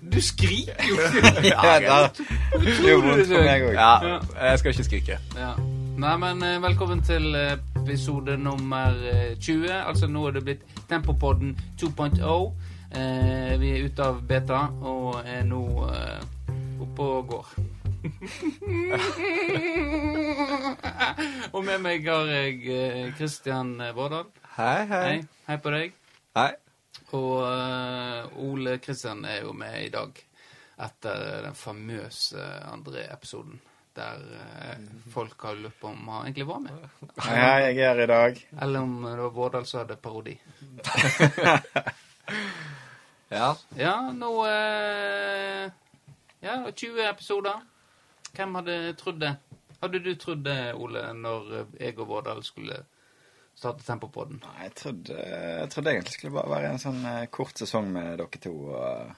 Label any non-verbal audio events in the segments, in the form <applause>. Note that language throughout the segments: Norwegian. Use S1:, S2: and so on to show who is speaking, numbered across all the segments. S1: Du skriker jo!
S2: Ja, da- Det gjør vondt for meg òg.
S3: Ja, jeg skal ikke skrike.
S1: Ja. Nei, men eh, velkommen til eh, episode nummer eh, 20. Altså nå er det blitt Tempopodden 2.0. Eh, vi er ute av beta og er nå eh, oppe og <laughs> går. og med meg har jeg eh, Christian eh, Vårdal.
S3: Hei, hei.
S1: Hei. Hei på deg.
S3: Hei.
S1: Og eh, Ole Kristian er jo med i dag etter den famøse André-episoden. Der eh, folk har lurt på om han egentlig var med,
S2: Hei, hei, jeg er her i dag.
S1: eller om det var Vårdal som hadde parodi.
S3: Ja.
S1: Ja, nå eh, Ja, 20 episoder. Hvem hadde trodd det? Hadde du trodd det, Ole, når jeg og Vårdal skulle starte Tempopodden?
S2: Nei, Jeg trodde, jeg trodde egentlig det skulle bare være en sånn eh, kort sesong med dere to. Og, eh,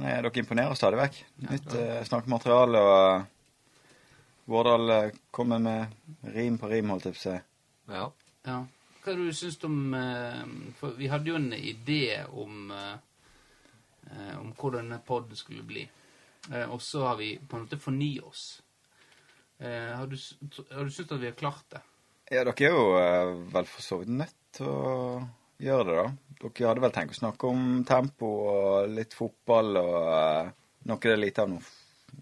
S2: men eh, dere imponerer stadig vekk. Nytt eh, snakkemateriale og eh, Vårdal eh, kommer med rim på rim, holdt jeg på å si.
S3: ja.
S1: Ja. Hva du syns du om eh, For vi hadde jo en idé om eh, eh, om hvordan denne poden skulle bli. Eh, og så har vi på en måte fornyet oss. Eh, har du, s- tr- har du syntes at vi har klart det?
S2: Ja, dere er jo eh, vel for så vidt nødt til å gjøre det, da. Dere hadde vel tenkt å snakke om tempo og litt fotball og eh, noe det er lite av nå f-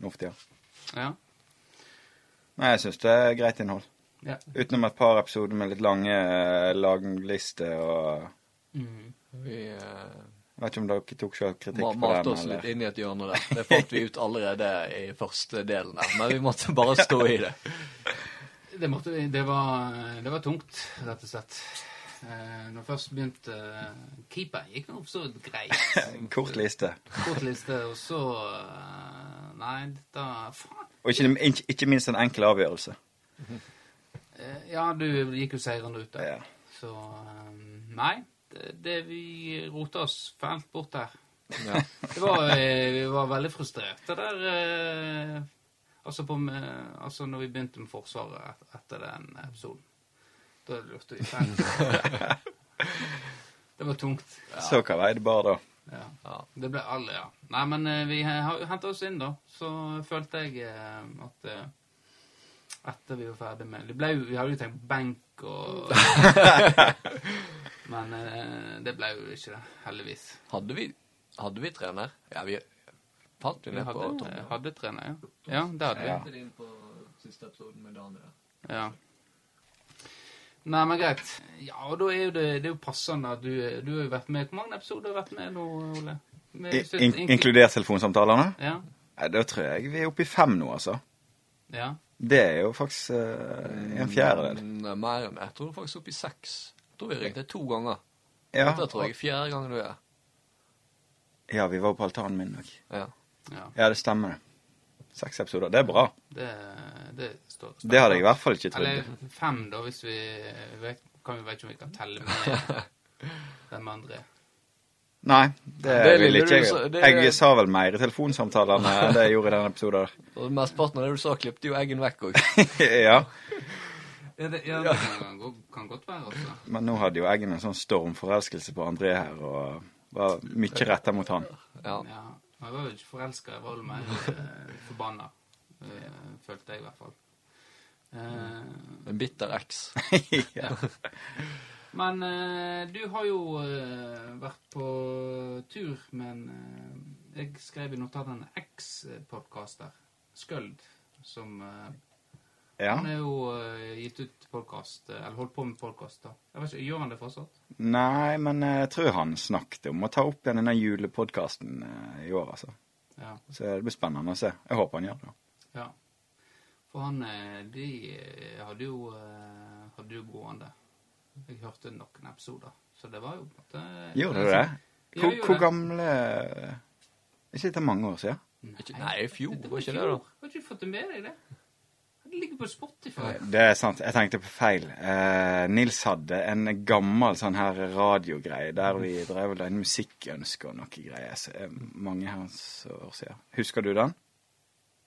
S2: nå for tida.
S1: Ja.
S2: Nei, jeg syns det er greit innhold.
S1: ja.
S2: Utenom et par episoder med litt lange eh, langlister og
S1: Mhm.
S3: Vi eh,
S2: Jeg vet ikke om dere tok selv kritikk
S3: ma-
S2: på den.
S3: malte oss
S2: eller?
S3: litt inn i et hjørne der. Det fant vi ut allerede i første delen der, men vi måtte
S2: <laughs>
S3: bare stå i det.
S1: Det, måtte, vi- det, var, det var tungt, rett og slett. Eh, når først begynte eh, Keeper gikk nå for så vidt greit.
S2: En kort liste.
S1: Kort liste, og så eh, Nei, dette Faen.
S2: Og ikke, ikke, ikke minst en enkel avgjørelse.
S1: Eh, Ja, du gikk jo seirende ut der.
S2: Ja.
S1: Så eh, Nei, det, det vi rota oss fælt bort her.
S3: Ja.
S1: <laughs> Det var, eh, vi var veldig frustrerte der eh, altså, på, med- altså når vi begynte med Forsvaret et, etter den episoden. Da lurte vi fælt. Det var tungt.
S2: Så hva vei det bar da?
S1: Ja.
S3: Ja.
S1: Det ble alle, ja. Nei, men eh, vi har henta oss inn, da. Så følte jeg eh, at eh, etter vi var ferdig med det ble, jo- Vi hadde jo tenkt benk og Men eh, det ble jo ikke det, heldigvis.
S3: Hadde vi, hadde vi trener? Ja, vi fant jo
S1: Vi
S3: ned på
S1: hadde,
S3: Tom.
S1: hadde trener, ja. Ja, det hadde vi.
S2: Ja.
S3: inn på siste episoden med Daniel.
S1: Ja. Nei, men greit. Ja, og da er jo det, det er jo passende at du, eh, du har jo vært med Hvor mange episoder har du vært med nå, Ole? Med-
S2: I, in, inkludert telefonsamtalene?
S1: Ja.
S2: Nei, Da tror jeg vi er oppe i fem nå, altså.
S1: ja.
S2: Det er jo faktisk eh, en
S3: Mm,
S2: fjerdedel.
S3: Mer enn det. Jeg tror faktisk opp i seks. Jeg tror vi ringte to ganger.
S2: Ja,
S3: Dette tror jeg er fjerde gangen du er.
S2: ja, vi var jo på altanen min òg.
S3: Ja.
S1: ja.
S2: Ja, det stemmer. Seks episoder. Det er bra.
S1: Det, det står
S2: Det hadde jeg i hvert fall ikke trodd.
S1: Eller fem, da, hvis vi vet, kan vi vet ikke om vi kan telle
S2: <laughs>
S1: med den andre.
S2: Nei, det,
S3: Det er
S2: ville
S3: lille
S2: ikke
S3: du
S2: jeg.
S3: sa- det er-
S2: Jeg sa vel mer i telefonsamtaler enn det jeg gjorde i denne episoden. <laughs>
S3: Og Mesteparten av det du sa, klippte jo eggen vekk òg.
S2: ja,
S1: Ja, det, ja, det kan, gå- kan godt være, altså.
S2: men nå hadde jo Eggen en sånn stormforelskelse på André her, og var mye retta mot
S1: <laughs>
S2: han.
S3: Ja.
S1: Ja. men Jeg var jo ikke forelska, jeg var jo mer eh, forbanna. Eh, følte jeg, i hvert fall. Eh,
S3: En bitter eks.
S2: ja.
S1: men eh, du har jo eh, vært på tur, men eh, jeg skrev i notatene X-podkaster, Skøld, som eh,
S2: ja.
S1: Han er jo eh, gitt ut podkast, eller holdt på med podkast, da. Jeg vet ikke, Gjør han det fortsatt?
S2: Nei, men jeg tror han snakket om å ta opp igjen denne julepodkasten eh, i år, altså.
S1: Ja.
S2: Så det blir spennende å se. Jeg håper han gjør det.
S1: ja. For han eh, De eh, hadde jo, eh, hadde jo gående. Jeg hørte noen episoder, så det var jo på en måte
S2: Gjorde du det?
S1: Ja, altså,
S2: Hvor,
S1: jeg gjorde
S2: hvor
S1: det.
S2: gamle Ikke dette mange år siden?
S3: Ikke- Nei, i fjor,
S1: Dette
S3: var ikke
S1: i
S3: det,
S1: fjor.
S3: da?
S1: Har ikke du fått det med deg, det? Det ligger på Spotify.
S2: Det er sant. Jeg tenkte på feil. Eh, Nils hadde en gammel sånn her radiogreie der vi drev vel en musikkønske og noe greier. Så, eh, mange herrens år siden. Husker du den,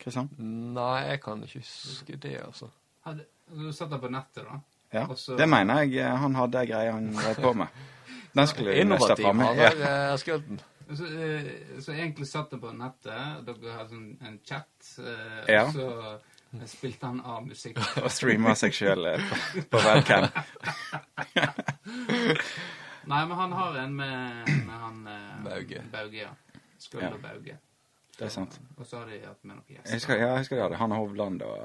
S2: Kristian?
S3: Nei, jeg kan ikke huske det, altså.
S1: Hadde, du satt den på nettet, da?
S2: Ja.
S1: Og så-
S2: Det mener jeg eh, han hadde ei greie han drev på med. Den skulle vi nesten
S3: Innovativ
S2: ta med.
S3: han
S2: Ja.
S3: der eh, Skølden.
S1: Så, eh, så egentlig satt jeg på nettet, dere hadde sånn en chat, eh,
S2: Ja.
S1: og så eh, spilte han av musikk.
S2: Og streamer seg sjøl på, på webcam.
S1: Nei, men han har en med, med han eh,
S3: Bauge.
S1: Bauge, ja. Skøld
S2: Ja.
S1: og Bauge.
S2: Det er sant.
S1: Og så har de hatt med noen
S2: Jeg
S1: gjester.
S2: husker, ja, jeg husker de hadde Hanne Hovland og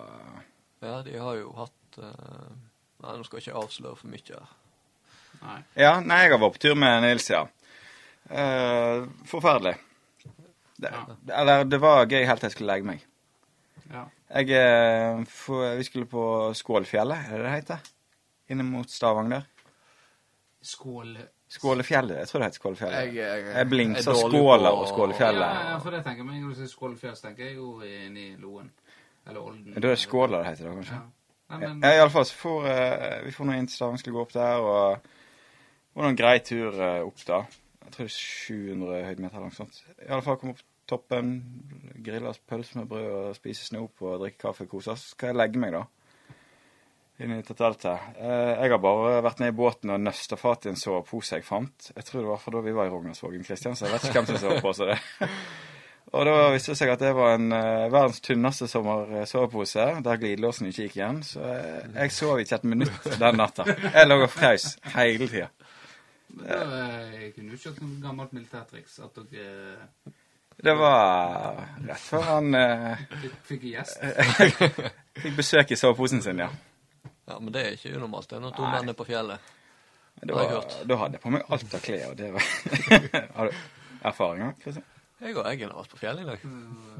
S3: Ja, de har jo hatt eh, Nei, nå skal jeg ikke avsløre for mye. her.
S1: Nei.
S2: Ja, nei, jeg har vært på tur med Nils, ja. Eh, forferdelig. Det,
S1: Ja.
S2: Eller, det var gøy helt til jeg skulle legge meg.
S1: Ja.
S2: Jeg, eh, for, vi skulle på Skålfjellet, er det det heter? Inne mot Stavanger.
S1: Skål.
S2: Skålefjellet, jeg tror det heter Skålefjellet.
S3: Jeg- jeg-
S2: jeg
S3: er
S2: blingser
S3: dårlig
S2: skåler
S3: på-
S2: og Skålefjellet.
S1: Ja, ja, for det tenker jeg meg. Når du sier Skålfjell, så tenker jeg jo inne i Loen. Eller Olden.
S2: Da er det Skåler det heter, da, kanskje?
S1: Ja. Nei,
S2: Ja,
S1: men,
S2: ja, i alle fall så får eh, vi får noe inn til Stavanger, skulle gå opp der, og det var en grei tur eh, opp da. Jeg tror det er 700 høydemeter eller noe sånt. I alle fall kom opp toppen, grille oss pølse med brød og spise snop og drikke kaffe og kose oss. Så skal jeg legge meg da, inn i dette teltet. Eh, jeg har bare vært ned i båten og nøsta fatt i en sovepose jeg fant. Jeg tror det var fra da vi var i Rognarsvågen, Kristian, så jeg vet ikke hvem som sovepose det. Og da viste det seg at det var en eh, verdens tynneste sommersovepose, der glidelåsen ikke gikk igjen. Så eh, jeg sov ikke et minutt den natta. Jeg lå og frøs hele tida.
S1: men da eh, kunne du kjørt noe gammelt militærtriks. At dere eh,
S2: Det var rett før han eh,
S1: fikk, fikk en gjest.
S2: fikk besøk i soveposen sin, ja.
S3: Ja, Men det er ikke unormalt. Det er når to
S2: Nei.
S3: menn er på fjellet.
S2: Da,
S3: Har jeg hørt.
S2: da hadde jeg på meg alt av klær, og det var <laughs> Har du erfaringer, Kristian?
S3: Jeg og Eggen har vært på fjellet i dag.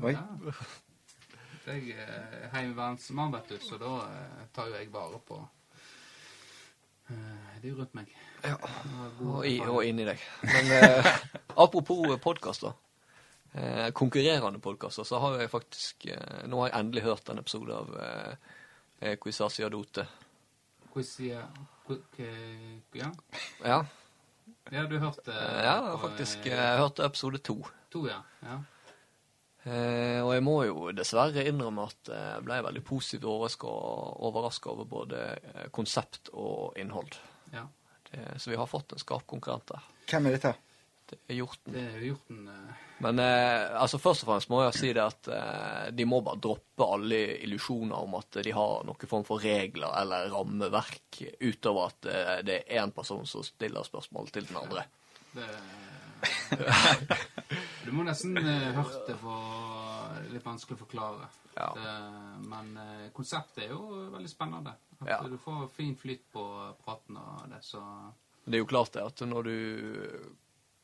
S2: Oi.
S1: Ja. Jeg er heimevernsmann, vet du, så da eh, tar jo jeg vare på eh, de rundt meg.
S3: Ja.
S1: Og
S3: Og,
S1: god
S3: i,
S1: erfaring.
S3: og inni deg. Men eh, <laughs> apropos podkaster. Eh, konkurrerende podkaster, så har jeg faktisk eh, Nå har jeg endelig hørt en episode av eh, eh, Kwisasi Adote.
S1: Hvordan sier hvor- hva- Ja,
S3: Ja,
S1: ja du hørte
S3: eh, ja jeg har faktisk. eh, Jeg hørte episode to.
S1: To, ja. ja.
S3: Eh, og jeg må jo dessverre innrømme at eh, jeg ble veldig positivt overraska over både eh, konsept og innhold.
S1: ja.
S3: Det, så vi har fått en skarp konkurrent der.
S2: Hvem er dette?
S3: Det er Hjorten.
S1: Det er jo gjort en eh,
S3: Men eh, altså først og fremst må jeg si det at eh, de må bare droppe alle illusjoner om at de har noen form for regler eller rammeverk, utover at eh, det er én person som stiller spørsmål til den andre.
S1: det, Du må nesten eh, hørt det for eh, Litt vanskelig å forklare.
S3: Ja.
S1: Det, men eh, konseptet er jo veldig spennende. At
S3: Ja.
S1: du får fin flyt på praten og det, så
S3: Det er jo klart det at når du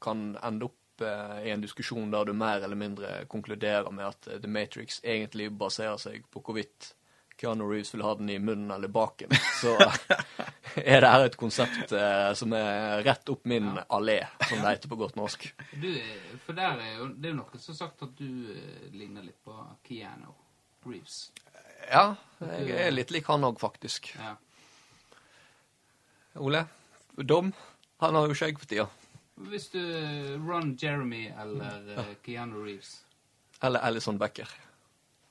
S3: kan ende opp eh, i en diskusjon der du mer eller mindre konkluderer med at eh, The Matrix egentlig baserer seg på hvorvidt Keanu Reeves vil ha den i munnen eller baken, <laughs> så er det her et konsept eh, som er rett opp min allé, som det heter på godt norsk.
S1: Du, eh, for der er jo, det er jo noen som har sagt at du eh, ligner litt på Keanu Reeves.
S3: <laughs> Ja, jeg er litt lik han òg, faktisk.
S1: Ja.
S3: Ole? Dom? Han har jo skjegg for tida.
S1: Hvis du eh, Ron Jeremy eller eh, Keanu Reeves
S3: Eller Alison Becker.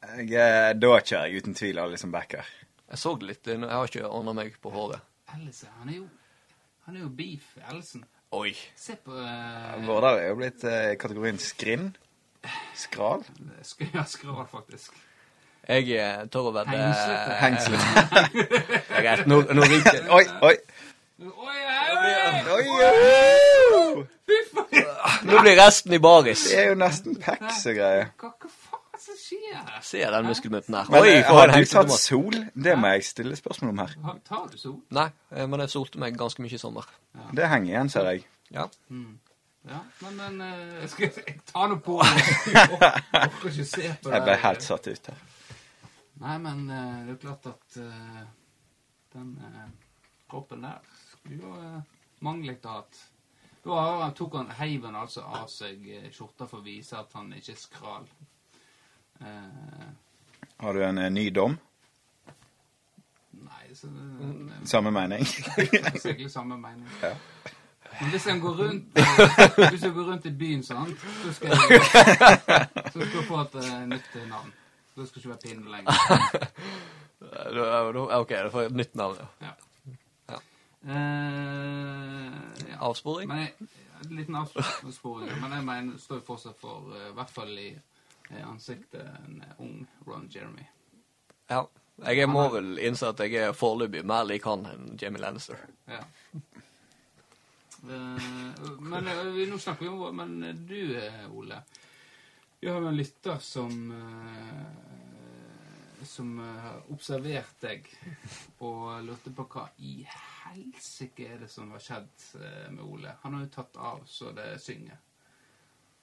S2: Jeg, eh, da kjører jeg uten tvil alle som backer.
S3: Jeg så det litt, eh, jeg har ikke ordna meg på håret.
S1: Ellison, han er jo Han er jo beef, Ellison.
S3: Oi.
S1: Se på eh, <laughs>
S2: Vårdal er jo blitt eh, i kategorien skrinn. Skral.
S1: sk ja, skral, faktisk.
S3: Jeg eh, tør å eh, vedde
S1: Hengslete.
S2: Hengsel.
S3: Jeg er- Nå, nå ryker
S2: Oi, oi.
S1: Oi, Harry!
S2: Oi, oi.
S3: Nå blir resten i baris.
S2: Det er jo nesten packs og greier.
S1: Hva, hva faen som skjer?
S3: Se den muskelmutten her.
S2: Men
S3: Oi,
S2: eh,
S3: for en
S2: har du
S3: hengslete
S2: tatt
S3: mat.
S2: sol? Det må jeg stille spørsmål om her.
S1: Ha- Tar du sol?
S3: Nei, eh, men jeg solte meg ganske mye i sommer.
S2: Det henger igjen, ser jeg.
S3: Ja.
S1: Ja, men, men eh, skal jeg, jeg tar nå <laughs> på meg. Jeg orker ikke se på det.
S2: Jeg ble helt satt ut her.
S1: Nei, men eh, det er jo klart at eh, den eh, kroppen der skulle jo uh, mangle litt av at Da har han- tok han heiven altså av seg eh, skjorta for å vise at han ikke er skral. Eh,
S2: Har du en eh, ny dom?
S1: nei, så det,
S2: Samme mening? <laughs>
S1: Det er egentlig samme mening. Men hvis han går rundt eh, Hvis han går rundt i byen, sant, så skal jeg, så skal jeg få et eh, nytt eh, navn. Da skal jeg ikke være pinne lenger.
S3: Eh, da- da- OK, da får jeg et nytt navn. ja.
S1: Ja.
S3: Ja.
S1: Eh, ja.
S3: Avsporing?
S1: Men jeg, en liten avsporing, men jeg mener står jo fortsatt for, eh, i hvert fall i eh, ansiktet, en eh, ung Ron Jeremy.
S3: Ja. Jeg må vel innse at jeg er foreløpig mer lik han enn Jamie Lannister.
S1: Ja. Eh, men eh, vi, nå snakker vi om vår- Men eh, du, eh, Ole. Vi har jo en lytter som eh, Som eh, har observert deg og lurte på hva i helsike er det som har skjedd eh, med Ole. Han har jo tatt av så det synger.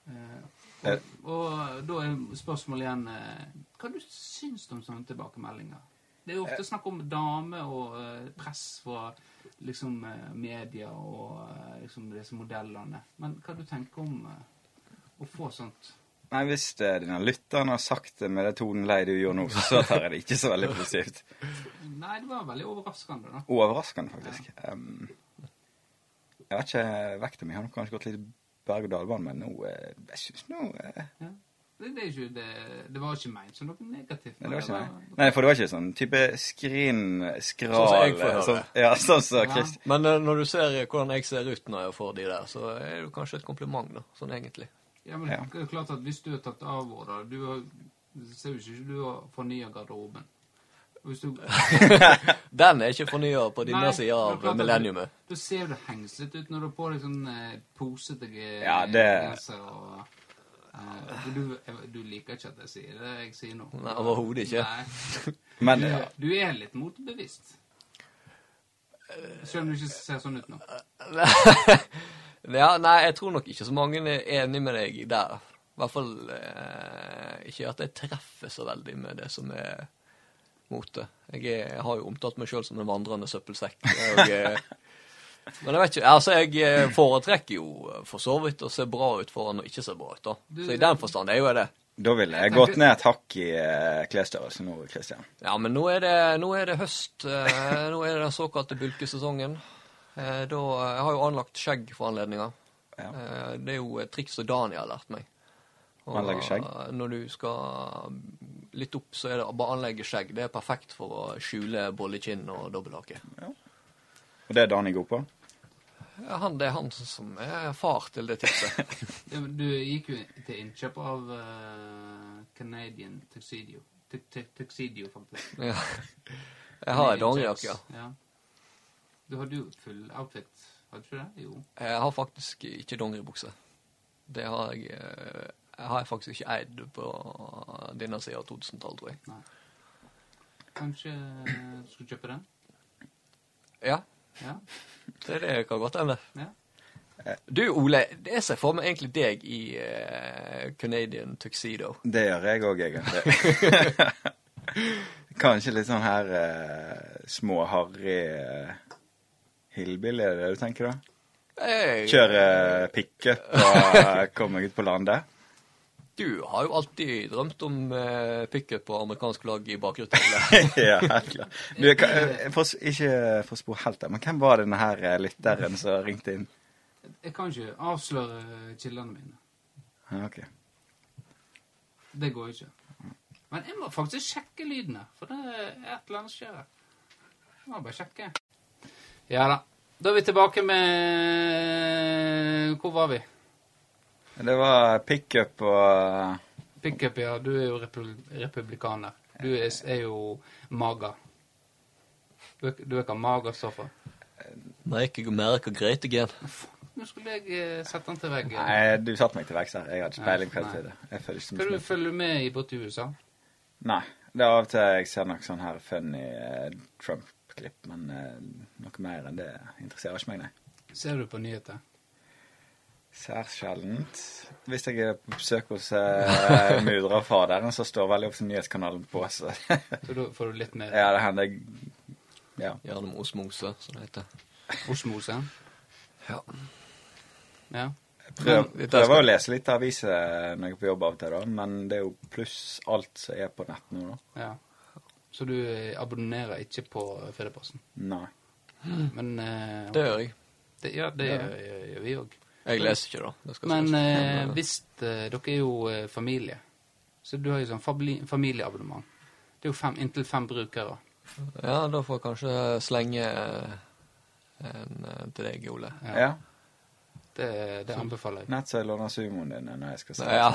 S1: Eh, og, og da er spørsmålet igjen eh, Hva du syns du om sånne tilbakemeldinger? Det er jo ofte snakk om dame og eh, press fra liksom eh, media og eh, liksom disse modellene. Men hva du tenker om eh, å få sånt?
S2: Nei, hvis det er denne lytteren har sagt det med det toneleie du gjorde nå, så, så tar jeg det ikke så veldig positivt.
S1: Nei, det var veldig overraskende, da.
S2: Overraskende, faktisk. Ehm, jeg vet ikke vekta mi har nok kanskje gått litt berg-og-dal-bane, men nå eh, Jeg syns nå eh,
S1: Ja. Det, det, er ikke, det, det var ikke ment som noe negativt.
S2: Nei, det var ikke
S1: men
S2: meg. Nei, for det var ikke sånn type skrin, skral
S3: Sånn som jeg får høre.
S2: sånn, Ja, sånn som
S1: Ja.
S2: Christ.
S3: Men eh, når du ser hvordan jeg ser ut når jeg får de der, så er det jo kanskje et kompliment, da. Sånn egentlig.
S1: Ja, men
S2: Ja.
S1: det er klart at hvis du har tatt av hår, da du har, ser jo ikke du har fornya garderoben. Og Hvis du, nei,
S3: Den er ikke fornya på dine
S1: det er
S3: sider av
S1: klart at
S3: millenniumet.
S1: Du, du ser jo det hengset ut når du har på deg sånn eh, posete ge-
S2: Ja, det-
S1: genser og eh, for du, jeg- du liker ikke at jeg sier det jeg sier nå.
S3: Nei, overhodet ikke.
S1: Nei.
S2: Men
S1: Du,
S2: ja.
S1: du er litt motbevisst. Selv om du ikke ser sånn ut nå.
S3: <laughs> Ja, nei, jeg tror nok ikke så mange er enig med deg der. I hvert fall eh, ikke at jeg treffer så veldig med det som er mote. Jeg, er, jeg har jo omtalt meg sjøl som en vandrende søppelsekk. Og, eh, <laughs> men jeg vet ikke, altså jeg eh, foretrekker jo eh, for så vidt å se bra ut foran å ikke se bra ut, da. Så i den forstand er jo jeg det.
S2: Da ville jeg gått ned et hakk i eh, klesstørrelse nå, Christian.
S3: Ja, men nå er det, nå er det høst. Eh, nå er det den såkalte bulkesesongen. Eh, da, jeg har jo anlagt skjegg for anledninga.
S2: Ja.
S3: Eh, det er jo et triks som Daniel har lært meg. Og,
S2: Anlegge skjegg?
S3: eh, Når du skal litt opp, så er det å bare anlegge skjegg. Det er perfekt for å skjule bollekinn og dobbelthake.
S2: Og det er Dani god på?
S3: Ja, Han, det er han som er far til det tipset.
S2: <laughs>
S1: Ja, men Du gikk jo til innkjøp av eh, Canadian Tuxedo. Tu- tu- Tuxedo, faktisk.
S3: ja. Jeg har en
S1: Canadian
S3: dongerijakke.
S1: Tux, Ja. Du hadde jo full outfit, hadde du ikke det? Jo.
S3: Jeg har faktisk ikke dongeribukse. Det har jeg, eh, jeg har faktisk ikke eid på denne siden av 2000-tallet, tror jeg.
S1: Nei. Kanskje eh, du skulle kjøpe den?
S3: Ja,
S1: Ja.
S3: det, det kan godt hende.
S1: ja.
S3: Du, Ole, det ser for meg egentlig deg i eh, Canadian tuxedo.
S2: Det gjør jeg òg, egentlig. <laughs> Kanskje litt sånn her eh, små, harry eh, hillbilly, er det det du tenker da?
S3: Hey,
S2: Kjøre eh, pickup og eh, komme ut på landet? <laughs>
S3: Du har jo alltid drømt om eh, pickup på amerikansk lag i bakruta. <laughs> eller?
S2: ja, helt klart. Du, jeg kan- eh, jeg får, ikke for å spore helt der, men hvem var denne her eh, lytteren som ringte inn?
S1: Jeg kan ikke avsløre eh, kildene mine.
S2: Ja, ok.
S1: Det går jo ikke. Men jeg må faktisk sjekke lydene, for det er et eller annet som skjer her. Jeg må bare sjekke. Ja da. Da er vi tilbake med Hvor var vi?
S2: Det var pickup og
S1: Pickup, ja. Du er jo repu- republikaner. Du er, er jo maga. Du, er- du er ikke maga, Stoffer.
S3: Merker jeg merker greit igjen.
S1: Nå skulle jeg eh, sette den til veggen.
S2: Nei, du satte meg til veggs her. Jeg hadde ikke peiling på hva
S1: Nei.
S2: det er. Jeg føler ikke som
S1: Skal du
S2: smitt.
S1: følge med i borte i USA?
S2: Nei. Det er av og til jeg ser noe sånn her funny eh, Trump-klipp, men eh, noe mer enn det interesserer ikke meg, nei.
S1: Ser du på nyheter?
S2: Særs sjeldent. Hvis jeg er på besøk hos eh, mudrafaderen, så står veldig ofte nyhetskanalen på, så
S1: Så da får du litt mer
S2: Ja, det hender jeg Ja.
S3: Gjerne med osmose, som det heter.
S1: osmose?
S3: Ja.
S1: Ja.
S2: Prøv,
S3: Men-
S2: prøver å lese litt aviser når jeg er på jobb av og til, da, men det er jo pluss alt som er på nett nå, da.
S1: ja. Så du eh, abonnerer ikke på Fedreposten?
S2: Nei.
S1: Men eh,
S3: Det gjør jeg.
S1: det, Ja, det gjør, gjør, gjør vi òg.
S3: Jeg leser ikke, da. Det skal
S1: Men
S3: sies.
S1: eh,
S3: eh,
S1: hvis eh, Dere er jo eh, familie. Så du har jo sånn fabli- familieabonnement. Det er jo fem, inntil fem brukere.
S3: Ja, da får jeg kanskje slenge eh, en eh, til deg, Ole.
S2: Ja.
S1: Det- Det, det anbefaler jeg.
S2: Nett så jeg låner sumoen din når jeg skal se.
S3: Ja.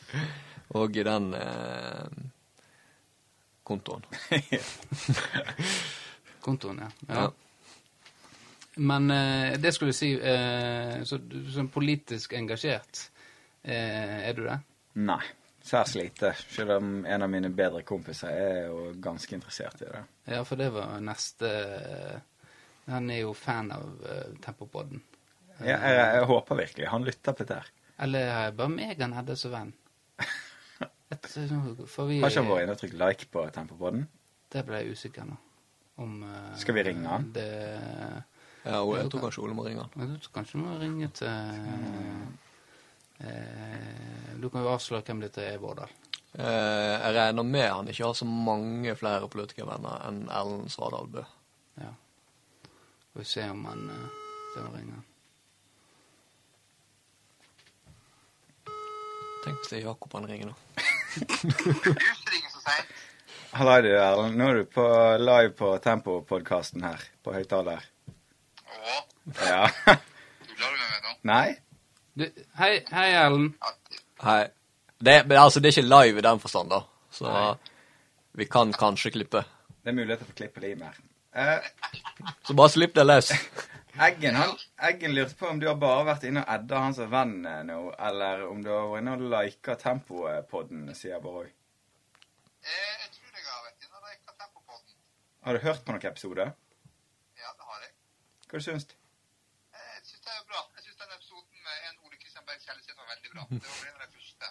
S3: <laughs> Og i den eh, kontoen.
S1: Kontoen, ja. ja.
S3: Ja.
S1: Men eh, det skulle jeg si eh, Så du sånn politisk engasjert, eh, er du det?
S2: Nei. Særs lite. Selv om en av mine bedre kompiser er jo ganske interessert i det.
S1: Ja, for det var neste eh, Han er jo fan av eh, Tempopodden.
S2: Jeg, jeg, jeg håper virkelig han lytter på dette. her.
S1: Eller har jeg bare meg han hadde som
S2: <laughs>
S1: venn? Et, eh, for vi,
S2: Har ikke han vært inne og trykt like på Tempopodden?
S1: Det ble jeg usikker nå. Om, eh,
S2: Skal vi ringe han?
S1: Det,
S3: Ja, og jeg tror kanskje Ole må ringe han.
S1: men du, kanskje du må ringe til eh, eh, Du kan jo avsløre hvem dette er, Vårdal.
S3: Eh, jeg regner med han ikke har så mange flere politikervenner enn Erlend Svardal Bø.
S1: Ja. Skal vi se om han eh, se om han ringer.
S3: Tenk hvis det er Jakob han ringer nå.
S2: Halla, du, Erlend. Nå er du på live på Tempopodkasten her, på høyttaler.
S4: Å,
S2: Ja.
S4: du lar meg med nå.
S2: <laughs> Nei?
S1: Du, hei, hei, Erlend.
S3: Hei. Det, men altså, det er ikke live i den forstand, da. Så
S2: Nei.
S3: vi kan kanskje klippe.
S2: Det er muligheter for klipp og lim her. Eh,
S3: Så bare slipp deg <laughs> løs.
S2: Eggen, han, Eggen lurte på om du har bare vært inne og adda han som venn eh, nå, eller om du har vært inne og lika Tempopodden, sier Borg.
S4: Eh, jeg tror jeg har vært inne og leket tempo på den.
S2: Har du hørt på noen episoder?
S4: Ja, det har jeg.
S2: Hva du syns du?
S4: Eh, jeg synes det er bra. Jeg synes den episoden med en Ole Kristian Berg Kjelleseth var veldig bra. Det var vel en av de første.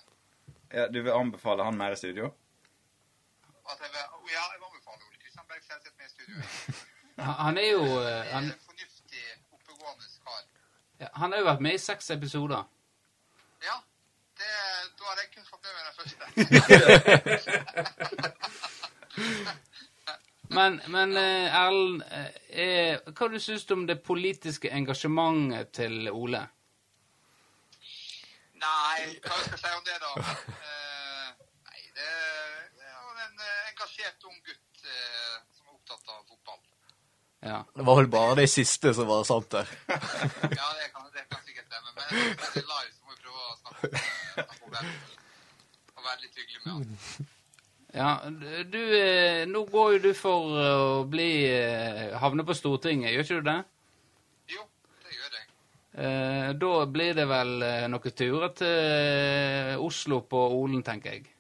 S2: Ja, du vil anbefale han mer i studio?
S4: At jeg, vil- Å ja, jeg må anbefale Ole Kristian Berg Kjelleseth med i studio.
S1: Han, han er jo eh,
S4: Han
S1: han,
S4: er en fornuftig, oppegående kar.
S1: ja, han har jo vært med i seks episoder.
S4: Ja, det, da har jeg kun fått med meg den <laughs> første.
S1: Men, men eh, Erlend, eh, eh, hva du syns du om det politiske engasjementet til Ole?
S4: Nei, hva skal jeg si om det, da? Eh, nei, det, det var en eh, engasjert ung gutt eh, som er opptatt av fotball.
S1: Ja.
S3: Det var vel bare det siste som var sant der.
S4: Ja, det kan, det kan sikkert stemme. Men jeg tror det er live, så må vi prøve å snakke, snakke om det. Og være litt hyggelig med han.
S1: ja du, eh, nå går jo du for eh, å bli eh, havne på Stortinget, gjør ikke du det?
S4: Jo, det gjør jeg.
S1: Eh, da blir det vel eh, noen turer til Oslo på Olen, tenker jeg.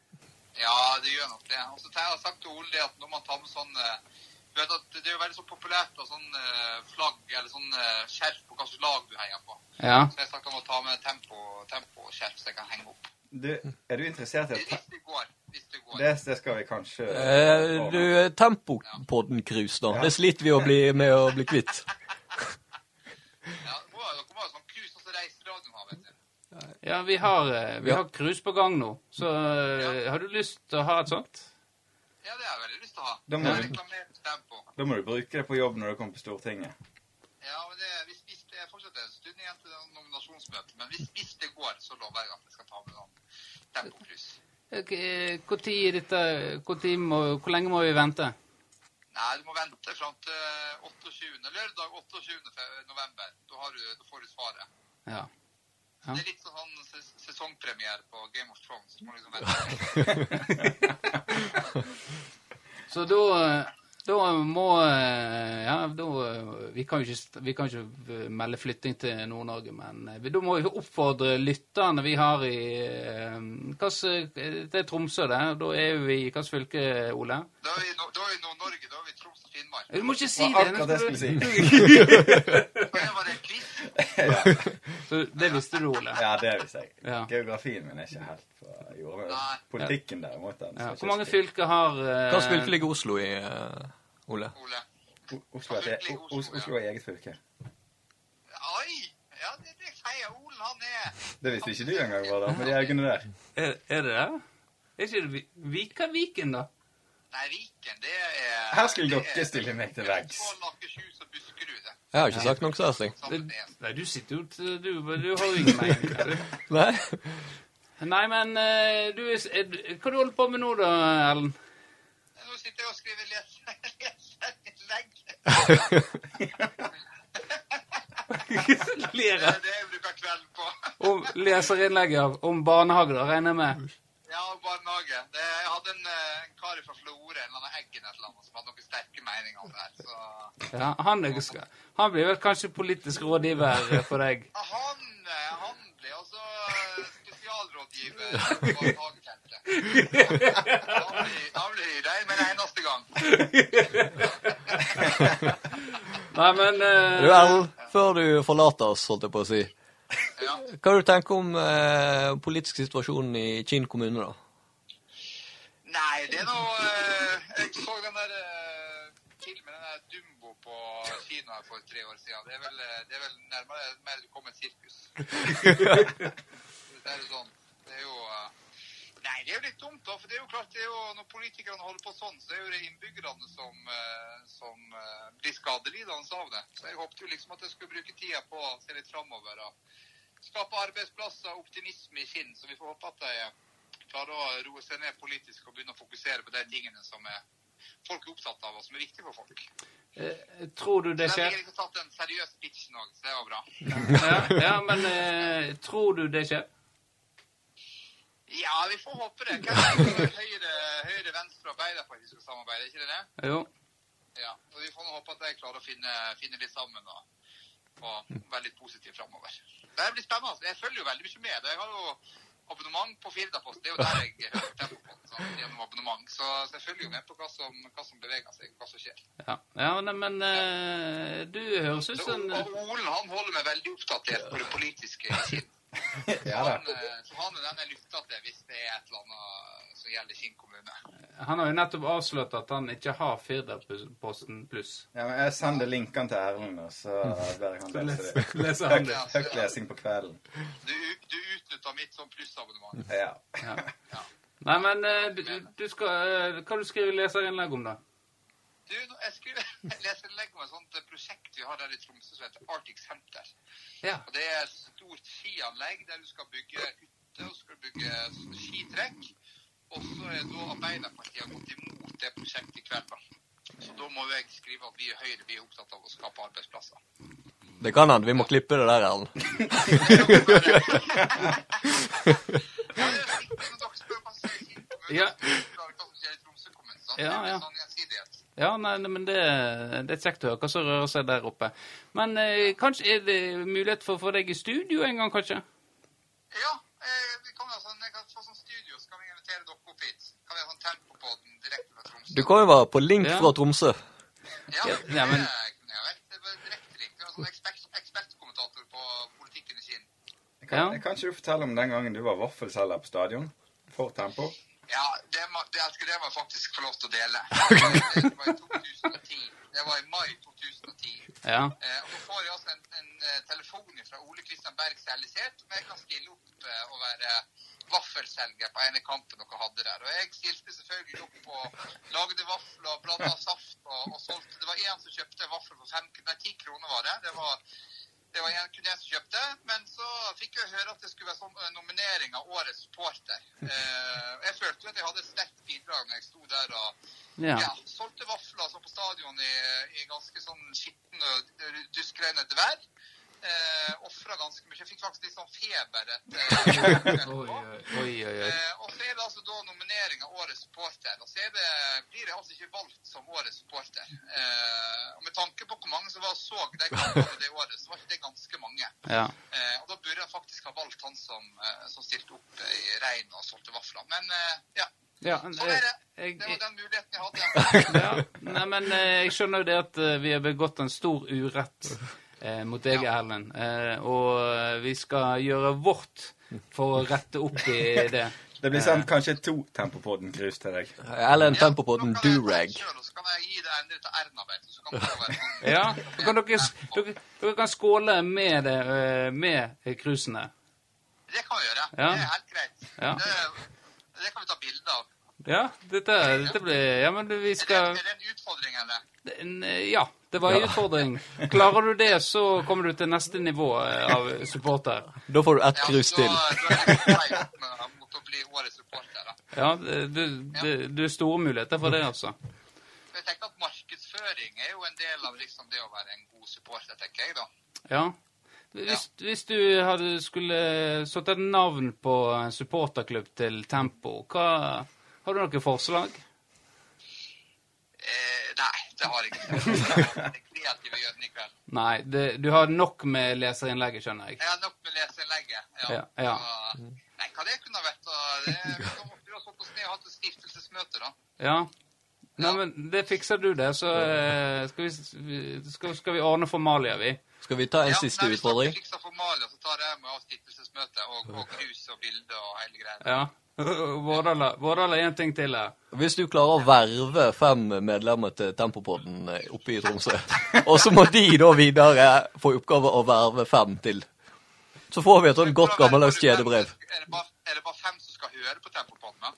S4: Ja, det gjør nok det. Og så har jeg sagt til Ole det at når man tar med sånn eh, du vet at Det er jo veldig så populært og sånn eh, flagg eller sånn eh, skjerf på hvilket lag du heier på.
S1: Ja.
S4: Så jeg har sagt om å ta med tempo- temposkjerf så jeg kan henge opp.
S2: Du, er du interessert i at
S4: Hvis det går. Hvis det går.
S2: det, det skal vi kanskje
S3: Eh, du, Tempopodden-cruise, da. Det sliter vi å bli med å bli kvitt.
S4: Ja, det må, dere må ha sånn cruise og så reiseradioen har, vet du.
S1: ja, vi har eh, vi
S3: Ja.
S1: har cruise på gang nå, så eh, har du lyst til å ha et sånt?
S4: Ja, det har jeg veldig lyst til å ha.
S2: Da må
S4: Jeg
S2: vi-
S4: reklamerer for tempo.
S2: Da må du bruke det på jobb når du kommer på Stortinget.
S4: Ja, men det, hvis, hvis det fortsetter en stund igjen til nominasjonsmøtet, men hvis, hvis det går, så lover jeg at jeg skal ta med noen tempokryss.
S1: Ok, eh, Hvor tid er dette hvor, tid må, hvor lenge må vi vente?
S4: Nei, du må vente fram til 28. lørdag 28. fe- november. Da, har du, da får du svaret.
S1: Ja. Ja.
S4: Det er litt sånn ses sesongpremiere på Game of Thrones. Du må liksom
S2: <laughs>
S4: vente.
S1: Så da, da må eh, Ja, da eh, vi kan, jo ikke, st- vi kan ikke eh, melde flytting til Nord-Norge, men eh, vi- da må vi oppfordre lytterne vi har i eh, hva s- eh, Det er Tromsø, det. Da er vi i hvilket fylke, Ole?
S4: Da er vi i Nord- da er vi i Nord-Norge. Da er vi i Troms og Finnmark.
S1: Du må ikke si
S2: Det
S1: det!
S2: var akkurat
S1: nå
S2: det jeg
S1: skal du-
S2: skulle si.
S4: Det var det quiz.
S1: Så det visste du, Ole.
S2: <laughs> Ja, det visste jeg.
S1: Ja.
S2: Geografien min er ikke helt på jordet.
S4: Nei.
S2: Politikken derimot den
S1: Ja.
S2: skal
S1: Hvor
S2: ikke
S1: mange
S2: skrive.
S1: fylker har eh,
S3: Hvilket fylke ligger Oslo i, eh, Ole?
S4: Ole.
S2: O- Oslo er, det- O- Os- Oslo er eget fylke.
S4: Oi! Ja, det er det jeg sier. Olen, han er
S2: Det visste ikke du engang, var det, med de øynene
S1: <laughs>
S2: der.
S1: er, er det det? Er ikke det Vi- Vika Viken, da?
S4: Nei, Viken, det er
S2: Her skulle
S4: det
S2: dere
S4: er-
S2: stille meg til veggs.
S4: Østfold, Akershus og Buskerud. det.
S3: Jeg har ikke sagt noe sånt. jeg.
S1: Det,
S4: Sammen med en.
S1: nei, du sitter jo til Du, du har jo ingen
S2: <laughs>
S1: mening. du.
S3: Nei?
S1: Nei, men eh, du, er, er, du- hva du holder på med nå da, <laughs> Erlend?
S4: Nå sitter jeg og <laughs> skriver leserinnlegg. Det
S1: Ler
S4: er det jeg bruker kvelden på.
S1: om leserinnlegget av- om barnehage, da, regner jeg med.
S4: <laughs> Ja, og barnehage. Det, jeg hadde en, eh, en kar fra Florø, en eller annen Eggen et eller annet, som hadde noen sterke meninger om det her. Så
S1: Ja, han, er, han blir vel kanskje politisk rådgiver eh, for deg.
S4: Ja, han, eh, han ble altså eh, spesialrådgiver på <laughs> barnehagefeltet. Han ble- Han ble hyra inn med en eneste gang.
S1: Nei, men eh,
S3: <laughs> Du, Erlend, før du forlater oss, holdt jeg på å si,
S4: Ja.
S3: hva du tenker om eh, politisk situasjon i Kinn kommune, da?
S4: Nei, det er noe eh, Jeg så den der eh, filmen, den der Dumbo på kino her for tre år siden. Det er vel, eh, det er vel nærmere mer du kommer et sirkus. det er jo sånn. Det er jo eh, Nei, det er jo litt dumt, da. For det er jo klart, det er jo, når politikerne holder på sånn, så er jo det innbyggerne som, eh, som eh, blir skadelidende av det. Så jeg håpet jo liksom at jeg skulle bruke tida på å se litt framover og skape arbeidsplasser og optimisme i Finn, så vi får håpe at de eh, klare å roe seg ned politisk og begynne å fokusere på de tingene som er folk er opptatt av, og som er viktige for folk.
S1: eh, tror du det
S4: Så
S1: skjer?
S4: Jeg har liksom tatt den seriøse pitchen òg, så det var bra.
S1: Ja, ja men eh, tror du det skjer?
S4: Ja, vi får håpe det. Hva er det? Høyre, høyre, venstre og Arbeiderpartiet skal samarbeide, ikke det det?
S1: Jo.
S4: Ja. Og vi får nå håpe at de klarer å finne, finne litt sammen og, og være litt positive framover. Det her blir spennende. altså. Jeg følger jo veldig mye med. Jeg har jo abonnement på Firdaposten. Det er jo der jeg hører tempo på, sånn, gjennom abonnement. Så, så jeg følger jo med på hva som, hva som beveger seg, og hva som skjer.
S1: Ja, ja nei, men eh, du høres ut
S4: Så,
S1: som eh,
S4: og Olen han holder meg veldig oppdatert på det
S2: <laughs>
S4: politiske i Kinn.
S2: Ja da.
S4: Han, eh, så han er den jeg lytter til hvis det er et eller annet som gjelder Kinn kommune.
S1: Han har jo nettopp avslørt at han ikke har Firdaposten pluss.
S2: Ja, men jeg sender linkene til Erlend, og så ber jeg han lese det.
S1: <laughs> Leser han
S2: Høyt,
S1: det?
S2: høyt lesing på kvelden.
S4: Du, du utnytter mitt sånn plussabonnement.
S2: Ja.
S1: Ja. Nei, men eh, du, du skal, eh, hva du skriver leserinnlegg om, da?
S4: Du, nå- jeg skulle <laughs> lese innlegg om et sånt eh, prosjekt vi har her i Tromsø som heter Arctic Center.
S1: Ja.
S4: Og det er et stort skianlegg der du skal bygge hytte og skal bygge sånn skitrekk. Og så er da Arbeiderpartiet har gått imot det prosjektet i kveld. da. Så da må jo jeg skrive at vi i Høyre vi er opptatt av å skape arbeidsplasser.
S3: Det kan hende vi må klippe det der, Erlend.
S1: Ja. Ja, ja.
S4: Ja, ja.
S1: Ja, nei, nei, men det, det er kjekt å høre hva som rører seg der oppe. Men eh, kanskje er det mulighet for å få deg i studio en gang, kanskje?
S4: Ja, eh, vi kan ha sånn, jeg kan få sånn studio, så kan vi invitere dere opp hit. Kan vi ha sånn Tempopodden direkte fra Tromsø?
S3: Du kan jo være på link
S1: Ja.
S3: fra Tromsø.
S4: Ja,
S1: Ja,
S4: det
S1: ja, men-
S4: er- ja, vel, det er bare direkte link. Vi har sånn ekspert, ekspertkommentator på politikken i Kinn.
S1: Ja.
S2: Kan, kan ikke du fortelle om den gangen du var vaffelselger på stadion? For Tempo?
S4: Ja, det, må, det, jeg skulle- det må jeg faktisk få lov til å dele. Det var i 2010. Det var i mai 2010.
S1: Ja.
S4: Eh, og så får jeg altså en, en eh, telefon fra Ole Kristian Berg Sellisert om jeg kan stille opp eh, og være vaffelselger på ene kampen dere hadde der. Og jeg stilte selvfølgelig opp og lagde vafler, blanda saft og, og solgte. Det var én som kjøpte en vaffel for fem, nei, ti kroner, var det. Det var det var en kunde som kjøpte, men så fikk jeg høre at det skulle være sånn eh, nominering av årets supporter. Eh, og jeg følte jo at jeg hadde et sterkt bidrag når jeg sto der og
S1: Ja.
S4: ja, solgte vafler altså, på stadion i, i ganske sånn skitten og duskregnet vær. Eh, Ofra ganske mye. Jeg fikk faktisk litt sånn feber etter
S1: <laughs> Oi, oi, oi. oi.
S4: Eh, og så er det altså da nominering av årets supporter. Og så er det, blir jeg altså ikke valgt som årets supporter. Eh, og med tanke på hvor mange som var og så de kampene det året, så var ikke det ganske mange.
S1: Ja.
S4: Eh, og da burde jeg faktisk ha valgt han som, eh, som stilte opp eh, i regn og solgte vafler. Men eh, ja,
S1: ja. eh,
S4: sånn er det.
S1: Jeg,
S4: Det
S1: jeg,
S4: var den muligheten
S1: <laughs>
S4: jeg hadde.
S1: ja. Nei, men eh, jeg skjønner jo det at eh, vi har begått en stor urett eh, mot deg, Erlend. Eh, og eh, vi skal gjøre vårt for å rette opp i det.
S2: Det blir sendt kanskje to Tempopodden-krus til deg.
S3: Erlend tempo på den
S4: Nå kan jeg ta
S3: durag.
S4: den selv, og Så kan jeg gi det endelig til Erna, vet du. Så kan det være sånn.
S1: <laughs> Ja, da kan dere, dere, dere kan skåle med, det, eh, med krusene.
S4: Det kan vi gjøre.
S1: Ja.
S4: Det er helt greit.
S1: Ja.
S4: Det, det kan vi ta bilde av.
S1: Ja, dette, dette blir Ja, men du, vi
S4: Er det,
S1: skal
S4: er det en utfordring, eller?
S1: en, eh, Ja, det var en utfordring. Klarer du det, så kommer du til neste nivå eh, av supporter.
S3: Da får du ett krus
S4: så-
S3: til.
S4: så er det litt feil opp med- mot å bli årets supporter. da.
S1: Ja, det- du, det, du er store muligheter for det, altså.
S4: Jeg tenker at Markedsføring er jo en del av liksom det å være en god supporter, tenker jeg. da.
S1: Ja. Hvis, hvis du hadde skulle satt et navn på en supporterklubb til Tempo, hva, har du noen forslag?
S4: Eh, nei, det har
S1: <laughs>
S4: jeg ikke. Det kreative gjør den i kveld.
S1: Nei, det, du har nok med leserinnlegget, skjønner jeg.
S4: Jeg har nok med leseinnlegget.
S1: Ja, ja.
S4: Så, Nei, hva det kunne ha vært? da? Det, da måtte vi ha satt oss ned og hatt et stiftelsesmøte, da.
S1: Ja. Nei, men det fikser du, det. Så eh, skal vi, s- skal, skal vi ordne formalia, vi.
S3: Skal vi ta en
S4: Ja,
S3: siste
S4: nei, hvis dere
S3: utfordring?
S4: fikser formalia, så tar jeg med oss stiftelsesmøte og, og krus og bilder og hele greia.
S1: Ja. <laughs> Vårdala Vårdala, én ting til her.
S3: Hvis du klarer å verve fem medlemmer til Tempopodden eh, oppe i Tromsø, og så må de da videre få i oppgave å verve fem til, så får vi et sånn godt gammeldags kjedebrev.
S4: Er det, bare, er det bare fem som skal høre på Tempopodden? da?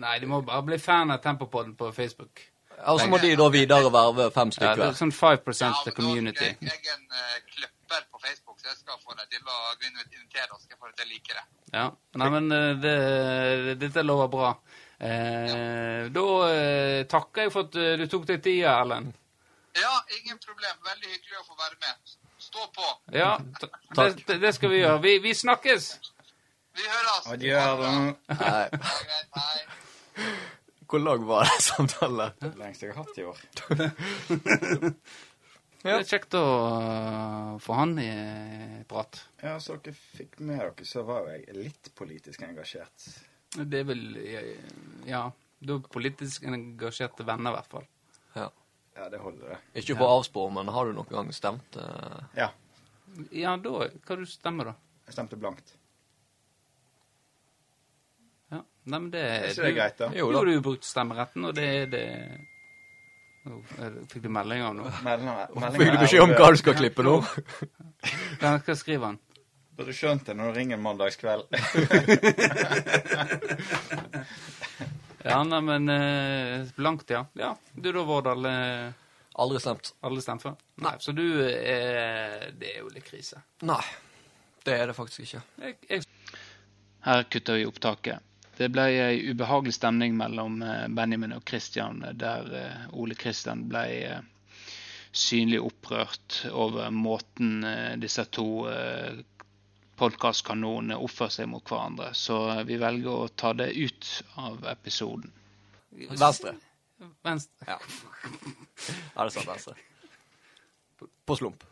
S1: Nei, de må bare bli fan av Tempopodden på Facebook.
S3: Ja, Og så må de da videre verve fem
S1: Ja,
S3: stykker
S1: det er
S3: hver.
S1: sånn 5
S4: Ja, men
S1: the
S4: da
S1: community.
S4: skal Jeg, jeg er en eh, kløpper på Facebook, så jeg skal få deg til å gå inn og invitere og skal jeg få deg til å like det.
S1: Ja. Nei, men eh, det, dette lover bra. Eh, da eh, takker jeg for at eh, du tok deg tida, Erlend.
S4: Ja, ingen problem. Veldig hyggelig å få være med. Stå på.
S1: Ja, <laughs> ta-
S3: Takk.
S1: Det, det skal vi gjøre. Vi, vi snakkes!
S4: Vi høres.
S2: Adjø. Erlend.
S3: sånn. Nei,
S4: Ha det bra. Hei.
S3: hvor lang var den samtalen?
S2: Lengst jeg har hatt i år.
S1: Det er kjekt å eh, få han i eh, prat.
S2: Ja, så dere fikk med dere, så var jo jeg litt politisk engasjert.
S1: Det er vel eh, Ja. Du er politisk engasjerte venner, i hvert fall.
S3: Ja.
S2: Ja, det holder, det.
S3: Ikke på avspor, men har du noen gang stemt? eh?
S2: Ja.
S1: Ja, da Hva du stemmer da?
S2: Jeg stemte blankt.
S1: Ja. Nei, men det
S2: Jeg synes det er greit, da.
S1: Jo,
S3: Jo da.
S1: du har brukt stemmeretten, og det er det Nå, eh, Fikk du melding av
S2: <laughs>
S1: noe?
S3: Fikk du beskjed om hva du skal klippe nå?
S1: Ja, Hva skriver han?
S2: Burde skjønt det når du ringer en mandagskveld.
S1: Ja, nei, men eh, blankt, ja. Ja, Du da, Vårdal. eh,
S3: <laughs> Aldri stemt.
S1: Alle stemmer for? Nei, så du eh, Det er jo litt krise.
S3: Nei, det er det faktisk ikke.
S1: Jeg, jeg...
S5: Her kutter vi opptaket. Det ble ei ubehagelig stemning mellom eh, Benjamin og Christian, eh, der eh, Ole Christian ble eh, synlig opprørt over måten eh, disse to eh, podkastkanonene oppfører seg mot hverandre. Så eh, vi velger å ta det ut av episoden.
S3: Venstre.
S1: Venstre.
S3: Ja. Ja, det sa venstre. På slump.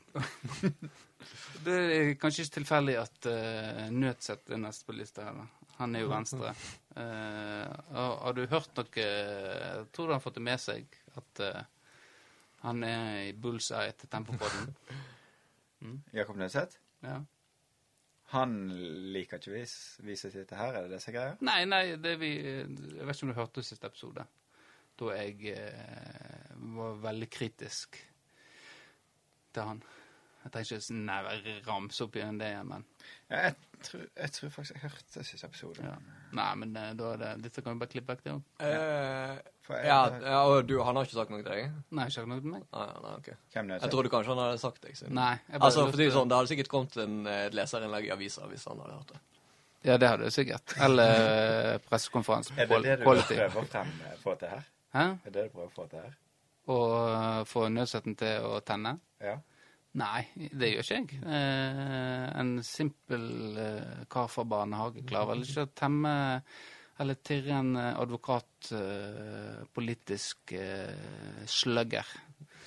S1: Det er kanskje ikke tilfeldig at eh, Nødseth er neste på lista her. da. Han er jo venstre. Eh, har, har du hørt noe eh, Jeg tror du har fått det med seg at eh, han er i bullseye etter Tempopodden?
S2: Jakob Nødseth?
S1: Ja.
S2: Han liker ikke vis, viset sitt her, er det det som er greia?
S1: Nei, nei, det vi Jeg vet ikke om du hørte siste episode, da jeg eh, var veldig kritisk til han. Jeg trenger ikke sånn, nei, ramse opp igjen det, men
S2: Ja, jeg, tror, jeg tror faktisk jeg hørte siste episode.
S1: ja. Nei, men eh, da er det Dette kan vi bare klippe vekk, det òg.
S2: For jeg,
S3: Eh, ja, ja, og du, han har ikke sagt noe til deg?
S1: Nei, ikke noe til meg.
S3: Nei, nei, ok.
S2: Hvem
S3: Jeg
S2: Nødseth?
S3: trodde kanskje han hadde sagt det. siden-
S1: Nei. jeg bare
S3: Altså, for å
S1: lurte-
S3: si det sånn, Det hadde sikkert kommet en, eh, et leserinnlegg i avisa hvis han hadde hørt det.
S1: Ja, det hadde jeg sikkert. Eller eh, pressekonferanse på
S2: Er det
S1: qual-
S2: det du
S1: quality.
S2: prøver å frem, få til her?
S1: Hæ?
S2: Er det du prøver å få til her?
S1: Og eh, få nødstøtten til å tenne?
S2: Ja.
S1: Nei, det gjør ikke jeg. Eh, en simpel eh, kar fra barnehage klarer vel ikke å temme eller tirre en eh, advokat eh, politisk eh, slugger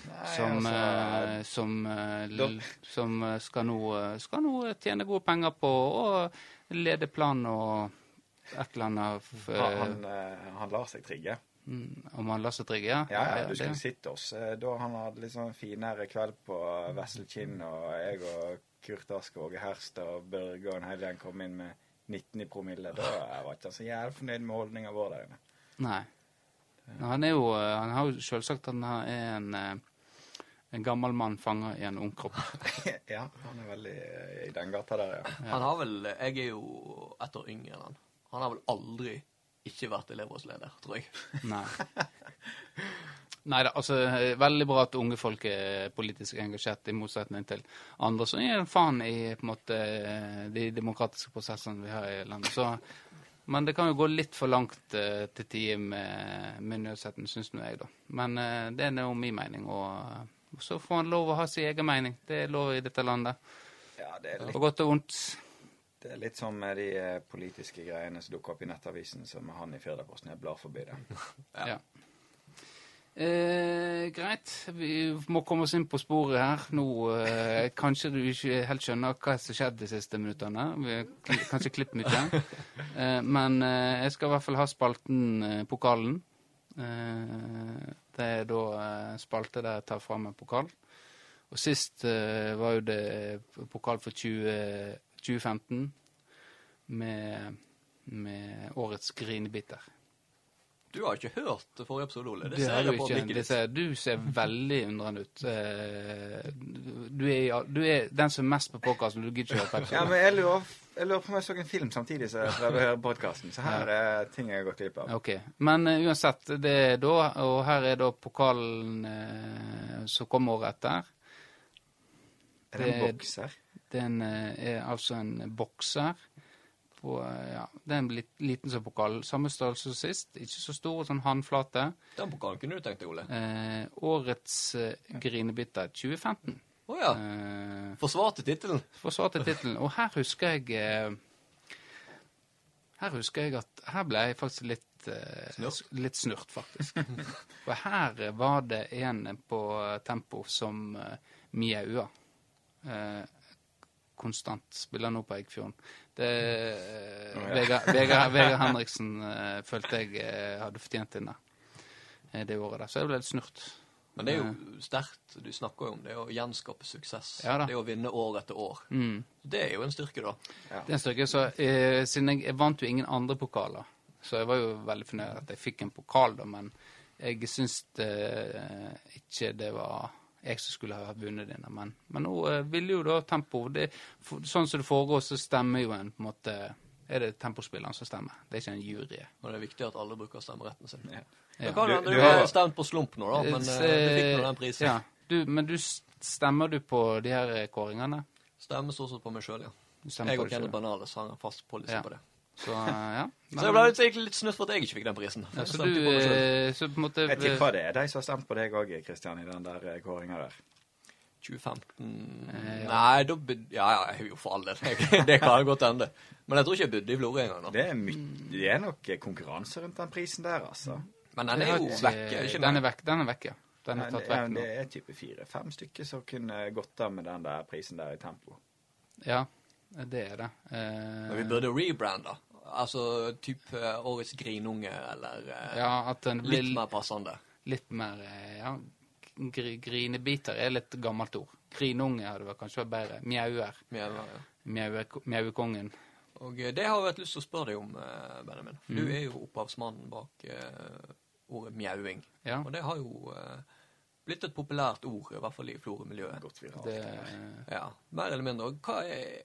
S2: Nei,
S1: som,
S2: altså,
S1: eh, som, eh,
S2: da-
S1: l- som eh, skal nå, eh, skal nå tjene gode penger på å lede plan og et eller annet f-
S2: han, han, eh, han lar seg trigge.
S1: Mm, Om han lar seg trigge, ja?
S2: Ja, ja, du
S1: det-
S2: skulle sett oss. eh, Da han hadde litt sånn finere kveld på Vessel Kinn, og jeg og Kurt Ask og Åge Herst og Børge og en hel gjeng kom inn med 19 i promille, da var ikke han så jævlig fornøyd med holdninga vår der inne.
S1: Nei. Men Han er jo eh, Han har jo selvsagt han er en, eh, en gammel mann fanga i en ung kropp.
S2: <laughs> Ja, han er veldig eh, i den gata der, ja.
S3: Han har vel, Jeg er jo ett år yngre enn han. Han har vel aldri ikke vært elevrådsleder, tror jeg.
S1: Nei. Nei da, altså eh, Veldig bra at unge folk er politisk engasjert, i motsetning til andre som gir faen i på en måte eh, de demokratiske prosessene vi har i landet. Så, men det kan jo gå litt for langt eh, til tider med, med nødsetten, syns nå jeg, da. Men eh, det er nå min mening, og eh, så får han lov å ha sin egen mening. Det er lov i dette landet.
S2: Ja, det er, litt,
S1: På godt og vondt.
S2: det er litt som med de eh, politiske greiene som dukker opp i Nettavisen, som han i Firdaposten. Jeg blar forbi <laughs> det.
S1: Ja. Eh, greit. Vi må komme oss inn på sporet her. Nå eh, Kanskje du ikke helt skjønner hva som skjedde de siste minuttene. Vi har kli- kanskje klippet mye. Eh, men eh, jeg skal i hvert fall ha spalten eh, Pokalen. Eh, det er da eh, spalte der jeg tar fram en pokal. Og sist eh, var jo det pokal for 20, 2015 med, med årets grinebiter.
S3: Du har ikke hørt forrige episode, Ole. Det,
S1: Det
S3: ser
S1: har du
S3: jeg på
S1: ikke.
S3: blikket
S1: Det
S3: ditt.
S1: ser, du ser veldig undrende ut. Eh, Du er, ja, du er den som er mest på podkasten. Du gidder ikke å høre på
S2: Ja,
S1: episoden.
S2: men jeg lurer, jeg lurer på om jeg så en film samtidig som jeg prøvde å høre podkasten. Så her er det ting jeg har gått glipp av.
S1: Ok. Men eh, uansett, det er da, og her er da pokalen eh, som kommer året etter.
S2: Er det en
S1: det-
S2: boks her?
S1: Den eh, er altså en bokser. På, eh, ja, det er en lit- liten som pokal. Samme størrelse som sist. Ikke så stor, sånn håndflate.
S3: Den pokalen kunne du tenkt deg, Ole.
S1: Eh, årets eh, grinebiter 2015.
S3: Å ja.
S1: Eh,
S3: Forsvarte tittelen.
S1: forsvarte tittelen. Og her husker jeg eh, Her husker jeg at Her ble jeg faktisk litt eh,
S3: Snurt?
S1: s- Litt snurt, faktisk. <laughs> For her eh, var det en på eh, Tempo som eh, mjaua eh, konstant. Spiller nå på Eggfjorden. Det eh,
S2: Å, ja.
S1: Vegard, Vegard, Vegard Henriksen eh, følte jeg eh, hadde fortjent den der. eh, Det året der. Så jeg ble litt snurt.
S3: Men det er jo sterkt. Du snakker jo om det å gjenskape suksess.
S1: Ja da.
S3: det å vinne år etter år.
S1: Mm.
S3: Det er jo en styrke, da.
S1: Det er en styrke. Så eh, siden jeg, jeg vant jo ingen andre pokaler, så jeg var jo veldig fornøyd at jeg fikk en pokal, da, men jeg syns det, eh, ikke det var jeg som skulle ha vunnet denne, men, men nå eh, ville jo da Tempo det, for, Sånn som det foregår, så stemmer jo en på en måte Er det Tempospilleren som stemmer? Det er ikke en jury.
S3: Men det er viktig at alle bruker stemmeretten sin.
S2: Ja.
S3: Det kan
S2: Du-
S3: hende
S2: du
S3: du
S2: har-
S3: har stemt på slump nå, da, men eh, du fikk nå den prisen.
S1: Ja, du, men du s- stemmer du på de her eh, kåringene?
S3: Stemmer stort sett på meg sjøl, ja.
S1: Du stemmer
S3: Jeg
S1: på
S3: og
S1: det selv,
S3: Kenneth Banales har en fast policy
S1: Ja.
S3: på det.
S1: Så, eh, ja.
S3: <laughs> Så jeg ble litt- egentlig litt snurt for at jeg ikke fikk den prisen.
S1: ja,
S3: Jeg
S1: så
S3: stemte
S1: du
S3: jo på meg selv.
S1: eh, Så på en måte
S2: Jeg tipper det er de som har stemt på deg òg, Kristian, i den der eh, kåringa der.
S3: 2015
S1: Eh, ja.
S3: Nei, da bud- Ja, ja, jeg er jo for all del. <laughs> Jeg- Det kan godt hende. Men jeg tror ikke jeg bodde i Florø engang. nå.
S2: Det er, my
S1: Mm.
S2: det er nok eh, konkurranse rundt den prisen der, altså.
S3: Men den
S1: Jeg
S3: er
S1: har
S3: jo
S1: ikke-
S3: vekk. er ikke
S1: Den er vekk, den er vekk, ja. Mm. Den
S2: Nei,
S1: er
S2: det,
S1: tatt
S2: ja,
S1: vekk
S2: eh, det
S1: nå.
S2: er type fire-fem stykker som kunne gått av med den der prisen der i tempo.
S1: Ja, det er det.
S3: Men vi
S1: Eh,
S3: burde rebrande. Altså type eh, Årets grinunge, eller eh,
S1: ja, at den blir
S3: litt mer passende.
S1: litt mer eh, ja, gr Grinebiter er litt gammelt ord. Grinunge hadde vært kanskje vært bedre. Mjauer.
S3: Mer, ja.
S1: Mjauer- Mjauekongen.
S3: Og eh, det har jeg hatt lyst til å spørre deg om, eh, Benjamin. For
S1: Mm.
S3: Du er jo opphavsmannen bak eh, ordet mjauing.
S1: Ja,
S3: Og det har jo eh, blitt et populært ord, i hvert fall i florø-miljøet.
S2: Godt viralt.
S1: det, eh,
S3: Ja, mer eller mindre. Og hva er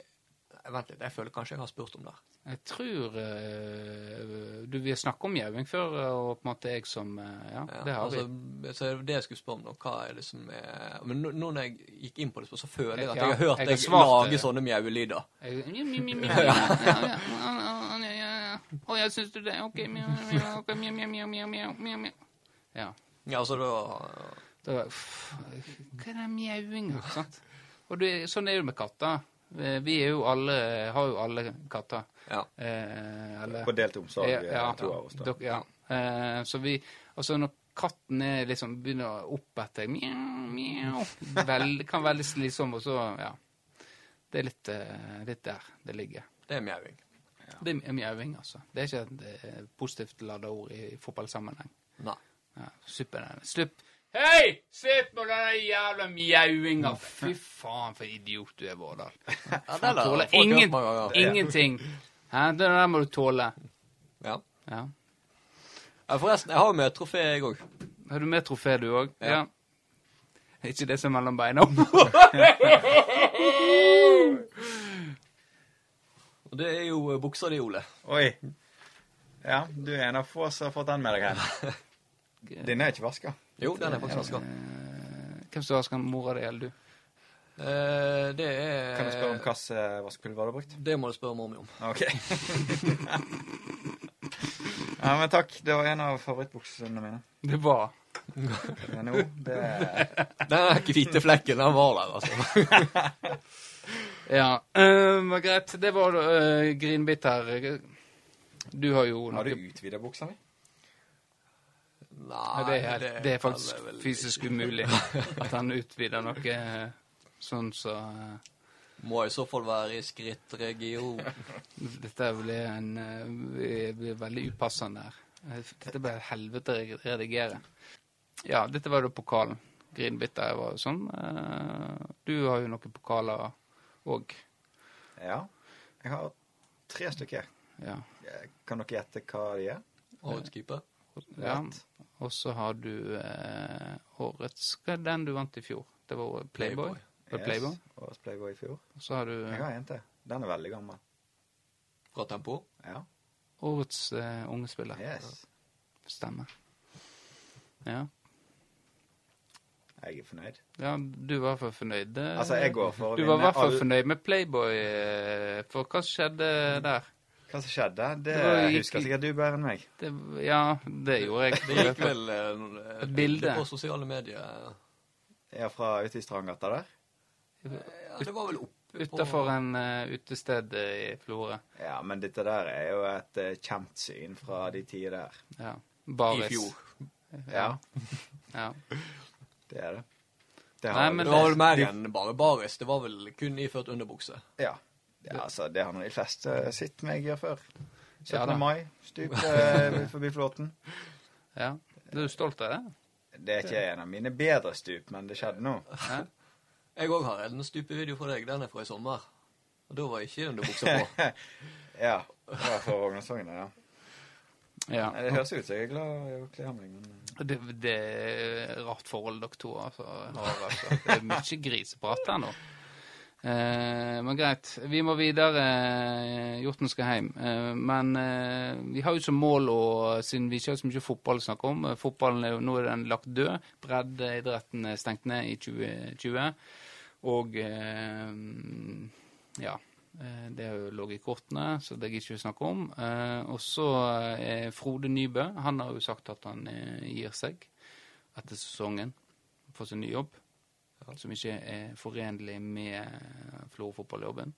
S3: Nei, Vent litt, jeg føler kanskje jeg har spurt om det.
S1: jeg tror eh, du, Vi har snakket om mjauing før, eh, og på en måte jeg som eh, Ja,
S3: Ja,
S1: det har
S3: altså,
S1: vi.
S3: Så det jeg skulle spørre om nå, hva er det som er Men nå, nå når jeg gikk inn på det, så føler jeg at
S1: Ja,
S3: jeg har hørt
S1: jeg
S3: deg
S1: har svart eh,
S3: lage
S1: det.
S3: sånne mjauelyder.
S1: Jeg, mjau, mjau, mjau, <laughs> mjau, ja, ja, ja, ja, ja, ja, ja. Å ja, syns du det? OK, mjau, mjau, ok, mjau, mjau, mjau, mjau, mjau, mjau, mjau. Ja.
S3: Ja, altså da
S1: Da var jeg, «Pff, Hva er den mjauinga? sant? Og det, sånn er det med katter. Eh, Vi er jo alle, har jo alle katter.
S3: Ja.
S1: Eh, eller-
S2: På delt omsorg, eh, to av oss, da.
S1: dok- ja. Eh, så vi Altså, når katten er liksom begynner å oppette mjau, mjau vel, Kan være litt slitsom, og så Ja. Det er litt, eh, litt der det ligger.
S3: Det er mjauing.
S1: Det er mjauing, altså. Det er ikke et eh, positivt lada ord i fotballsammenheng.
S3: Nei.
S1: Ja, Slipp den. Slipp. Hei! Slipp med den jævla mjauinga! Fy faen, for idiot du er,
S3: <laughs>
S1: Vårdal. Du
S3: Ja, det har
S1: tåler
S3: folk hørt
S1: ingen,
S3: mange ganger.
S1: ingenting. Hæ? Det der må du tåle.
S3: Ja.
S1: Ja.
S3: Ja, forresten, jeg har jo med et trofé, jeg òg.
S1: Har du med trofé, du òg?
S3: Ja.
S1: Er Ikke det som er mellom
S3: <laughs>
S1: beina? Eh,
S3: Og det er jo eh, buksa di, Ole.
S2: Oi. Ja, du er en av få som har fått den med deg hjem.
S1: <laughs>
S2: Din er ikke vaska.
S3: Jo, den er faktisk vaska.
S1: Hvem som vasker den? mora di eller du?
S3: Eh, det er
S2: Kan jeg spørre om
S1: Eh.
S2: hvilket vaskepulver du har brukt? Ah,
S3: Det må du spørre mor mi om.
S2: OK. <laughs>
S1: <laughs>
S2: ja, men takk. Det var en av favorittbuksene mine.
S1: Det var
S2: Men nå, det
S3: <laughs> Den hvite flekken, den var der, altså.
S1: Ja, eh, men greit. Det var uh, grinbit her. Du har jo
S2: Har du utvida buksa mi?
S1: Nei,
S3: <laughs> Nei,
S1: det, er, helt- det er faktisk
S3: kan jeg vel
S1: fysisk
S3: ikke.
S1: umulig <laughs> at han utvider noe eh, sånn så eh,
S3: Må i så fall være i <laughs> skrittregion.
S1: Dette blir, en, eh, blir veldig upassende her. Eh, Dette blir et helvete å redigere. Ja, dette var da pokalen. Grinbitter var jo sånn. Eh, Du har jo noen pokaler òg.
S2: Ja. Jeg har tre stykker. Eh,
S1: Ja.
S2: Kan dere gjette hva de er?
S3: Outkeeper.
S1: ja.
S2: Rett.
S1: Og så har du eh, årets Hva er den du vant i fjor? Det var Playboy.
S3: Playboy.
S1: Var det Playboy?
S2: Yes, Årets Playboy i fjor.
S1: Og så har du
S2: Jeg
S1: eh,
S2: har en til. Den er veldig gammel.
S3: Fra Tempo.
S2: Ja.
S1: årets eh, unge spiller.
S2: Yes.
S1: Stemmer. Ja.
S2: Jeg er fornøyd.
S1: ja, du var i hvert fall fornøyd. Det-
S2: Altså, jeg går for å
S1: Eh, Du var i
S2: vinne
S1: hvert fall
S2: all-
S1: fornøyd med Playboy, eh, for hva skjedde der?
S2: Hva som skjedde, det,
S1: Det var-
S2: husker sikkert du bedre enn meg.
S1: Det, ja, det gjorde jeg.
S3: <laughs> Det gikk vel eh,
S1: Et bilde.
S3: på sosiale medier.
S2: Ja, fra ute i Strandgata der?
S3: Ja, det var vel oppe
S1: Utafor en eh, utested eh, i Florø.
S2: Ja, men dette der er jo et eh, kjent syn fra de tider der.
S1: Ja.
S3: på,
S1: Baris.
S3: i fjor.
S2: Ja,
S1: Ja.
S2: det er det. Det
S1: Nei,
S2: har,
S1: men
S3: det var vel mer enn bare baris. Det var vel kun iført underbukse.
S2: ja. ja, altså, det har nå de fleste sitt meg gjør før. 17.
S1: Ja da.
S2: mai,
S1: <laughs>
S2: stup eh, forbi flåten.
S1: ja. Du er stolt av
S3: <laughs>
S1: det?
S2: Det er ikke en av mine bedre stup, men det skjedde nå.
S1: Ja.
S3: Jeg òg har en stupevideo fra deg. Den er fra i sommer. Og da var ikke <laughs> underbuksa på.
S2: Ja, det var fra Rognasogn, ja.
S1: ja.
S2: Nei, Det høres ut som jeg er glad i å kle meg, men eh,
S1: Det, det er rart forhold dere to altså, har. Altså. Det er mye griseprat her nå. Eh, men greit, vi må videre. Hjorten skal hjem. Eh, men eh, vi har jo som mål, og siden vi ikke har så mye fotball å snakke om eh, Fotballen er jo nå er den lagt død. Breddeidretten er stengt ned i 2020. Og eh, ja. eh, Det har jo ligget i kortene, så det gidder jeg ikke å snakke om. Eh, Og så eh, Frode Nybø. Han har jo sagt at han eh, gir seg etter sesongen for sin nye jobb. Som ikke er forenlig med eh, Florø-fotballjobben.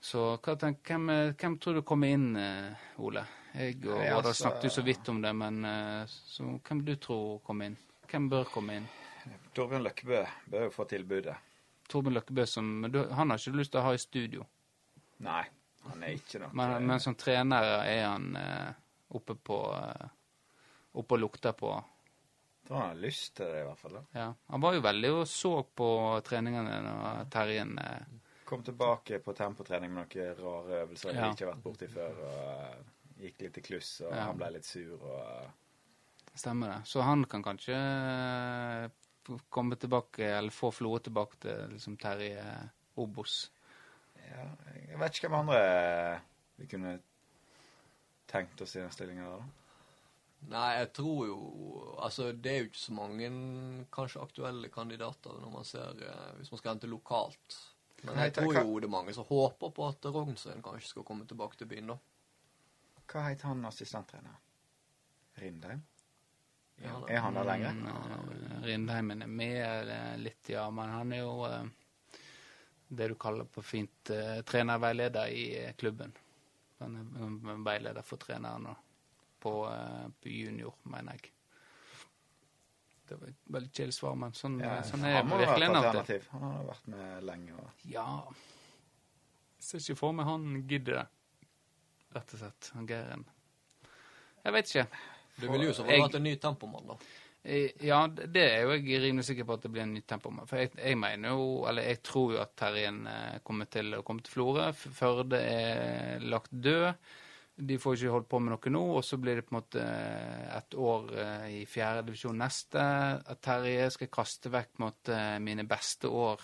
S1: Så hva tenk, hvem, eh, hvem tror du kommer inn, eh, Ole? Jeg og
S2: Nei,
S1: Vardar
S2: altså-
S1: snakket jo så vidt om det, men eh, så, hvem du tror kommer inn? Hvem bør komme inn?
S2: Torbjørn Løkkebø bør jo få tilbudet.
S1: Torben Løkkebø som men du, Han har ikke lyst til å ha i studio,
S2: Nei, han er ikke eh, noe
S1: men, men som trener er han eh, oppe på eh, Oppe og lukter på
S2: Jeg tror han har lyst til det, i hvert fall. da.
S1: Ja. Han var jo veldig og så på treningene når Terjen eh,
S2: Kom tilbake på tempotrening med noen rare øvelser
S1: Ja.
S2: jeg ikke har vært borti før. og eh, Gikk litt i kluss, og
S1: Ja.
S2: han ble litt sur. og
S1: Stemmer det. Så han kan kanskje eh, f- komme tilbake, eller få Florø tilbake til liksom Terje Obos.
S2: ja, Jeg vet ikke hvem andre eh, vi kunne tenkt oss i den stillinga.
S3: Nei, jeg tror jo Altså, det er jo ikke så mange kanskje aktuelle kandidater når man ser eh, Hvis man skal hente lokalt. Men
S2: Nei,
S3: jeg
S2: ta-
S3: tror
S2: hva-
S3: jo det er mange som håper på at Rognsøen kanskje skal komme tilbake til byen, da.
S2: Hva het han assistenttreneren? Rindheim?
S3: Ja, da.
S2: er han der lenger?
S1: Eh, Rindheimen er med eh, litt, ja, men han er jo eh, det du kaller på fint eh, trenerveileder i eh, klubben. Han er mm, veileder for treneren og på, eh, på junior, mener jeg. Det var et veldig kjedelig svar, men sånn,
S2: Ja,
S1: sånn er
S2: han må være et
S1: virkeligheten av og til.
S2: alternativ. Han har vært med lenge. Og...
S1: Ja. Jeg ser ikke for meg han gidder det, rett og slett. Han Geiren. Jeg vet ikke.
S3: Det ville jo så
S1: Jeg-
S3: vel vært en ny tempomann, da.
S1: Eh, Ja, det det er jo jeg rimelig sikker på at det blir en ny tempo med. For jeg, jeg mener jo, eller jeg tror jo at Terjen eh, kommer til å komme til Florø. F- Førde er lagt død. De får ikke holdt på med noe nå, og så blir det på en måte eh, et år eh, i fjerde divisjon neste. At Terje skal kaste vekk på en måte mine beste år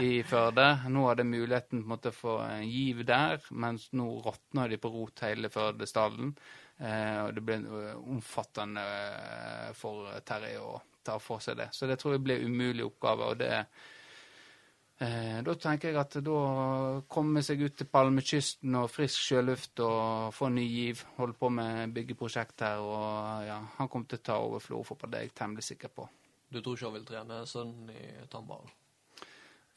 S1: i Førde. Nå hadde jeg muligheten på en måte for en giv der, mens nå råtner de på rot hele Førdestallen. Eh, og det blir eh, omfattende eh, for Terje å ta for seg det. Så det tror jeg blir en umulig oppgave, og det Eh, da tenker jeg at da komme seg ut til Palmekysten og frisk sjøluft og få ny giv. Holde på med byggeprosjekt her og ja, han kommer til å ta over Florfotball, det er jeg temmelig sikker på.
S3: Du tror ikke han vil trene sønnen i tannballen?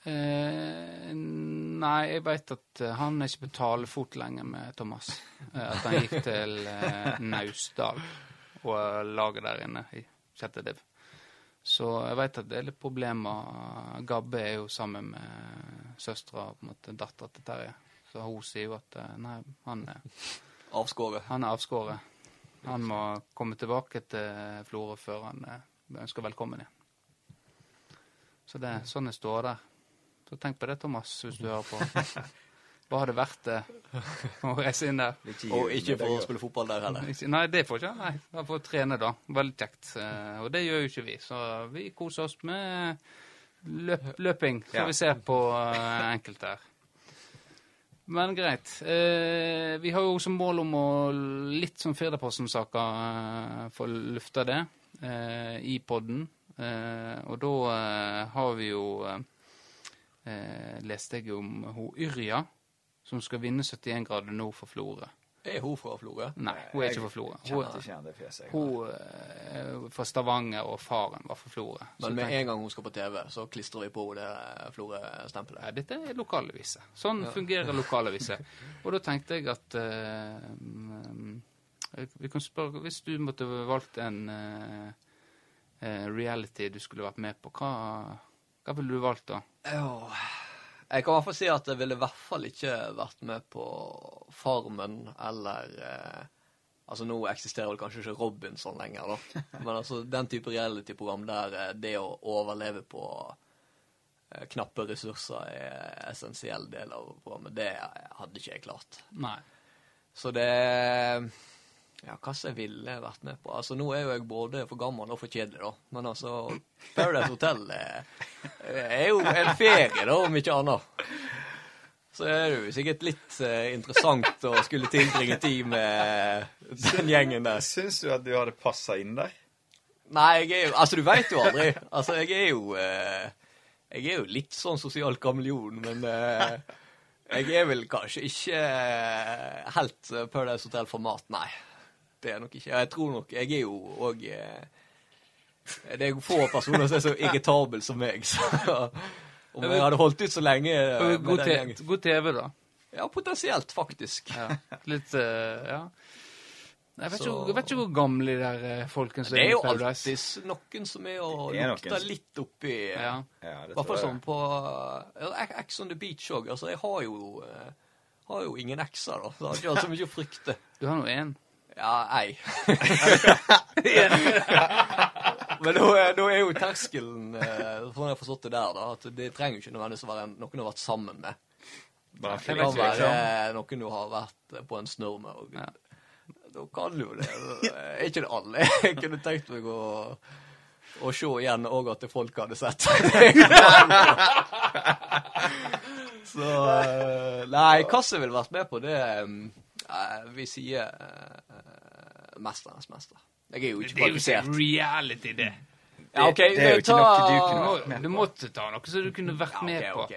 S1: Eh, nei, jeg veit at eh, han er ikke på talefot lenger med Thomas. Eh, at han gikk til eh, Naustdal og eh, laget der inne i sjette div. Så jeg veit at det er litt problemer. Gabbe er jo sammen med eh, søstera og på en måte dattera til Terje. Så hun sier jo at eh, nei, han, er-
S3: Avskåret.
S1: han er avskåret. Han må komme tilbake til Florø før han eh, ønsker velkommen igjen. Så det er sånn det står der. Så tenk på det, Thomas, hvis du hører på. Hva hadde vært det å reise inn der?
S3: Og ikke for å spille fotball
S1: <laughs>
S3: der heller.
S1: Ikke- Nei, det får ikke han. Nei, Han får trene, da. Veldig kjekt. Eh, Og det gjør jo ikke vi, så vi koser oss med løp løping, som
S2: Ja.
S1: vi ser på eh, enkelte her. Men greit. Eh, vi har jo som mål om å litt som Firdaposten-saker eh, få lufta det eh, i podden. Eh, og da eh, har vi jo eh, eh, Leste jeg om hun Yrja, som skal vinne 71 grader nord for Florø.
S3: Er hun fra Florø?
S1: Nei, hun er ikke fra Florø. altså.
S2: Jeg
S1: Hun,
S2: kjente ikke igjen det fjeset. jeg.
S1: hun er fra eh, Stavanger, og faren var fra Florø. Så
S3: Men med
S1: tenkte jeg,
S3: en gang hun skal på TV, så klistrer vi på henne det Florø-stempelet.
S1: Nei, dette er lokalaviser. Sånn fungerer
S3: <laughs>
S1: lokalaviser. Og da tenkte jeg at eh, mm, vi kan spørre, Hvis du måtte valgt en eh, eh, reality du skulle vært med på, hva, hva ville du valgt da?
S3: Ja. Jeg kan i hvert fall si at jeg ville i hvert fall ikke vært med på Farmen eller eh, Altså, nå eksisterer vel kanskje ikke Robinson lenger, da. Men altså, den type reality-program der eh, det å overleve på eh, knappe ressurser er essensiell del av programmet, det hadde ikke jeg klart.
S1: Nei.
S3: Så det Ja, hva som jeg ville vært med på? Altså, Nå er jo jeg både for gammel og for kjedelig, da. Men altså, Paradise Hotel eh, er jo en ferie, da, om ikke annet. Så er det jo sikkert litt eh, interessant å skulle tilbringe tid med den gjengen der.
S2: Syns du at du hadde passa inn der?
S3: Nei, jeg er jo Altså, du veit jo aldri. Altså, jeg er jo eh, Jeg er jo litt sånn sosial kameleon, men eh, jeg er vel kanskje ikke eh, helt eh, Paradise Hotel-format, nei. Det er nok ikke. Jeg tror nok Jeg er jo òg eh, Det er få personer som er så irritabel som meg, så om jeg hadde holdt ut så lenge eh, med
S1: God,
S3: den
S1: te
S3: gjengen
S1: god TV, da.
S3: Ja, potensielt, faktisk.
S1: Ja. Litt eh, Ja. Jeg vet,
S3: Så-
S1: ikke, jeg vet ikke hvor gamle de der eh, folkene som
S3: Det er jo
S1: i Paradise.
S3: alltid noen som er og
S2: Det er noen
S3: lukter
S2: som-
S3: litt oppi eh,
S1: Ja.
S2: Ja, det
S3: I hvert fall
S2: tror
S3: sånn
S2: jeg.
S3: på ja, Ex on the beach òg. Altså, jeg har jo, eh, har jo ingen ekser, da. Så jeg har ikke hatt så mye å frykte.
S1: Du har nå én.
S3: Ja, ei. <laughs> Men nå, er- nå er jo terskelen, eh, sånn jeg har forstått det der, da, at det trenger jo ikke nødvendigvis å være en- noen du har vært sammen med.
S2: Bare en
S1: Jeg vet
S3: Det kan
S1: ikke,
S2: flyttvekk.
S3: være noen du har vært eh, på en snurr med. Og,
S1: Ja.
S3: Da kan du jo det. Eh, Ikke det alle. Jeg kunne tenkt meg å, å se igjen òg at det folk hadde sett. <laughs> Så eh, Nei, hva som ville vært med på det eh, Vi sier eh, 'Mesternes mester'. Jeg er jo ikke kvalifisert.
S1: reality, det.
S3: Ja, ok,
S2: Det er jo ikke
S3: ta-
S2: noe du kunne
S1: Du,
S2: vært
S1: må, du måtte ta noe som du kunne vært
S3: Ja, ok,
S1: med på.
S3: ok.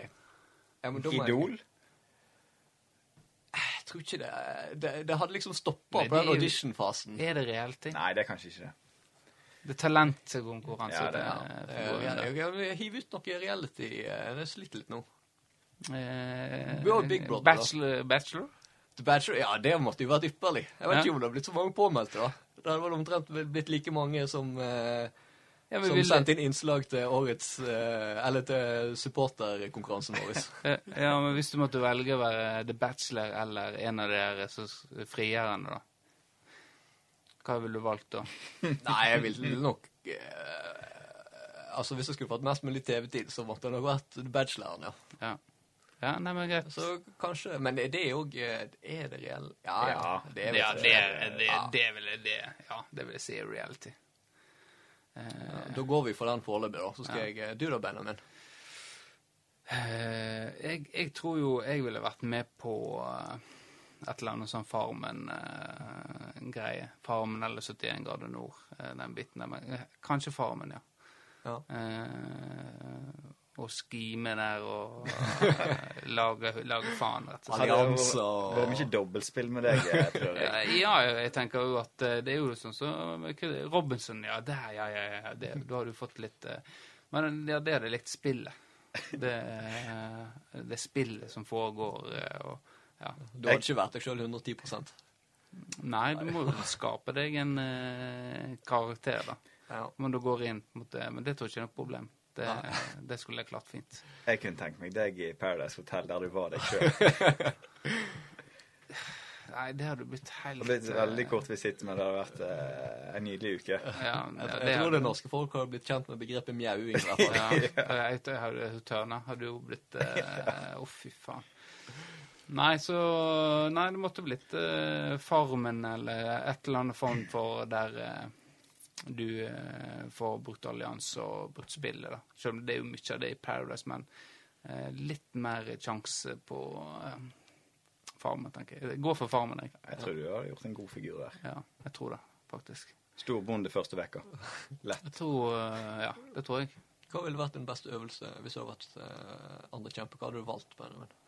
S3: Ja, men da må jeg-
S2: Idol?
S3: Jeg tror ikke det Det, det hadde liksom stoppa
S1: Nei, det
S3: på den
S1: er jo-
S3: auditionfasen.
S1: Er det reality?
S2: Nei, det er kanskje ikke det.
S1: Det er talentkonkurranse.
S2: Ja, det
S3: Ja,
S1: det
S3: eh,
S1: foregår
S3: jeg-
S1: under.
S3: jeg vil hive ut noe reality. eh, Jeg sliter litt nå.
S1: Eh,
S3: Vi har Big Brother, da.
S1: bachelor, bachelor?
S3: The Bachelor, ja, det måtte jo vært ypperlig. Jeg vet
S1: Ja.
S3: ikke om det har blitt så mange påmeldte, da. Det hadde vel omtrent vel blitt like mange som, eh,
S1: Ja, men
S3: som
S1: vil-
S3: sendte inn innslag til årets eh, Eller til supporterkonkurransen vår.
S1: <laughs> eh, ja, men hvis du måtte velge å være The Bachelor eller en av dere så s- frierne, da? Hva ville du valgt da?
S3: Nei, jeg ville nok eh, Altså, hvis jeg skulle fått mest mulig TV-tid, så måtte det nok vært The Bacheloren, ja.
S1: Ja, ja nei, men greit.
S3: Så kanskje Men er det òg Er det reell? Ja, ja.
S2: Ja,
S3: Det er
S1: ja,
S3: vel-
S1: det, det,
S3: Ja.
S1: det vil jeg det. Ja, det vil jeg si er reality. Eh,
S3: Da går vi for den foreløpig, da. Så skal jeg Du da, Benjamin?
S1: Eh, jeg, jeg tror jo jeg ville vært med på eh, et eller annet sånn Farmen-greie. eh, farmen eller 71 grader nord, eh, den biten der. Men eh, kanskje Farmen, ja.
S3: Ja.
S1: Eh, og skime der og eh, lage, lage faen, rett og slett.
S3: Allianser
S2: Det var mye
S3: og
S2: dobbeltspill med deg, eh, tror jeg.
S1: Eh, Ja, jeg tenker jo at eh, det er jo sånn som Robinson, ja, der, ja, ja, ja. Det, da har du fått litt eh, Men ja, det hadde jeg likt spillet. Det, eh, det spillet som foregår eh, og Ja.
S3: Du hadde ikke vært deg sjøl 110
S1: Nei, du må jo skape deg en eh, karakter, da.
S3: ja.
S1: Men du går inn mot det. Men det tror jeg ikke er noe problem. Det,
S3: Nei.
S1: det skulle jeg klart fint.
S2: Jeg kunne tenkt meg deg i Paradise Hotel, der du var deg sjøl.
S1: Nei, det hadde blitt helt
S2: Det ble et
S1: eh,
S2: veldig kort visitt, men det hadde vært eh, en nydelig uke.
S1: Ja, ja,
S3: Jeg, jeg tror det
S1: hadde-
S3: norske folk har blitt kjent med begrepet mjauing. i hvert fall.
S1: <laughs> Ja, jeg, jeg, jeg hadde Tørna hadde jo blitt <laughs> eh, Å, fy faen. Nei, så Nei, det måtte blitt eh, Farmen eller et eller annet form for der eh, du eh, får brukt allianse og brukt spillet, da. Selv om det er jo mye av det i Paradise, men eh, litt mer sjanse på eh, Farmen, tenker jeg. Gå for Farmen, jeg.
S2: Jeg tror du hadde gjort en god figur der.
S1: Ja, jeg tror det, faktisk.
S2: Storbonde første vekka. Lett.
S1: Jeg tror eh, Ja, det tror jeg.
S3: <laughs> Hva ville vært din beste øvelse hvis du hadde vært eh, andre kjempe? Hva hadde du valgt? Benjamin?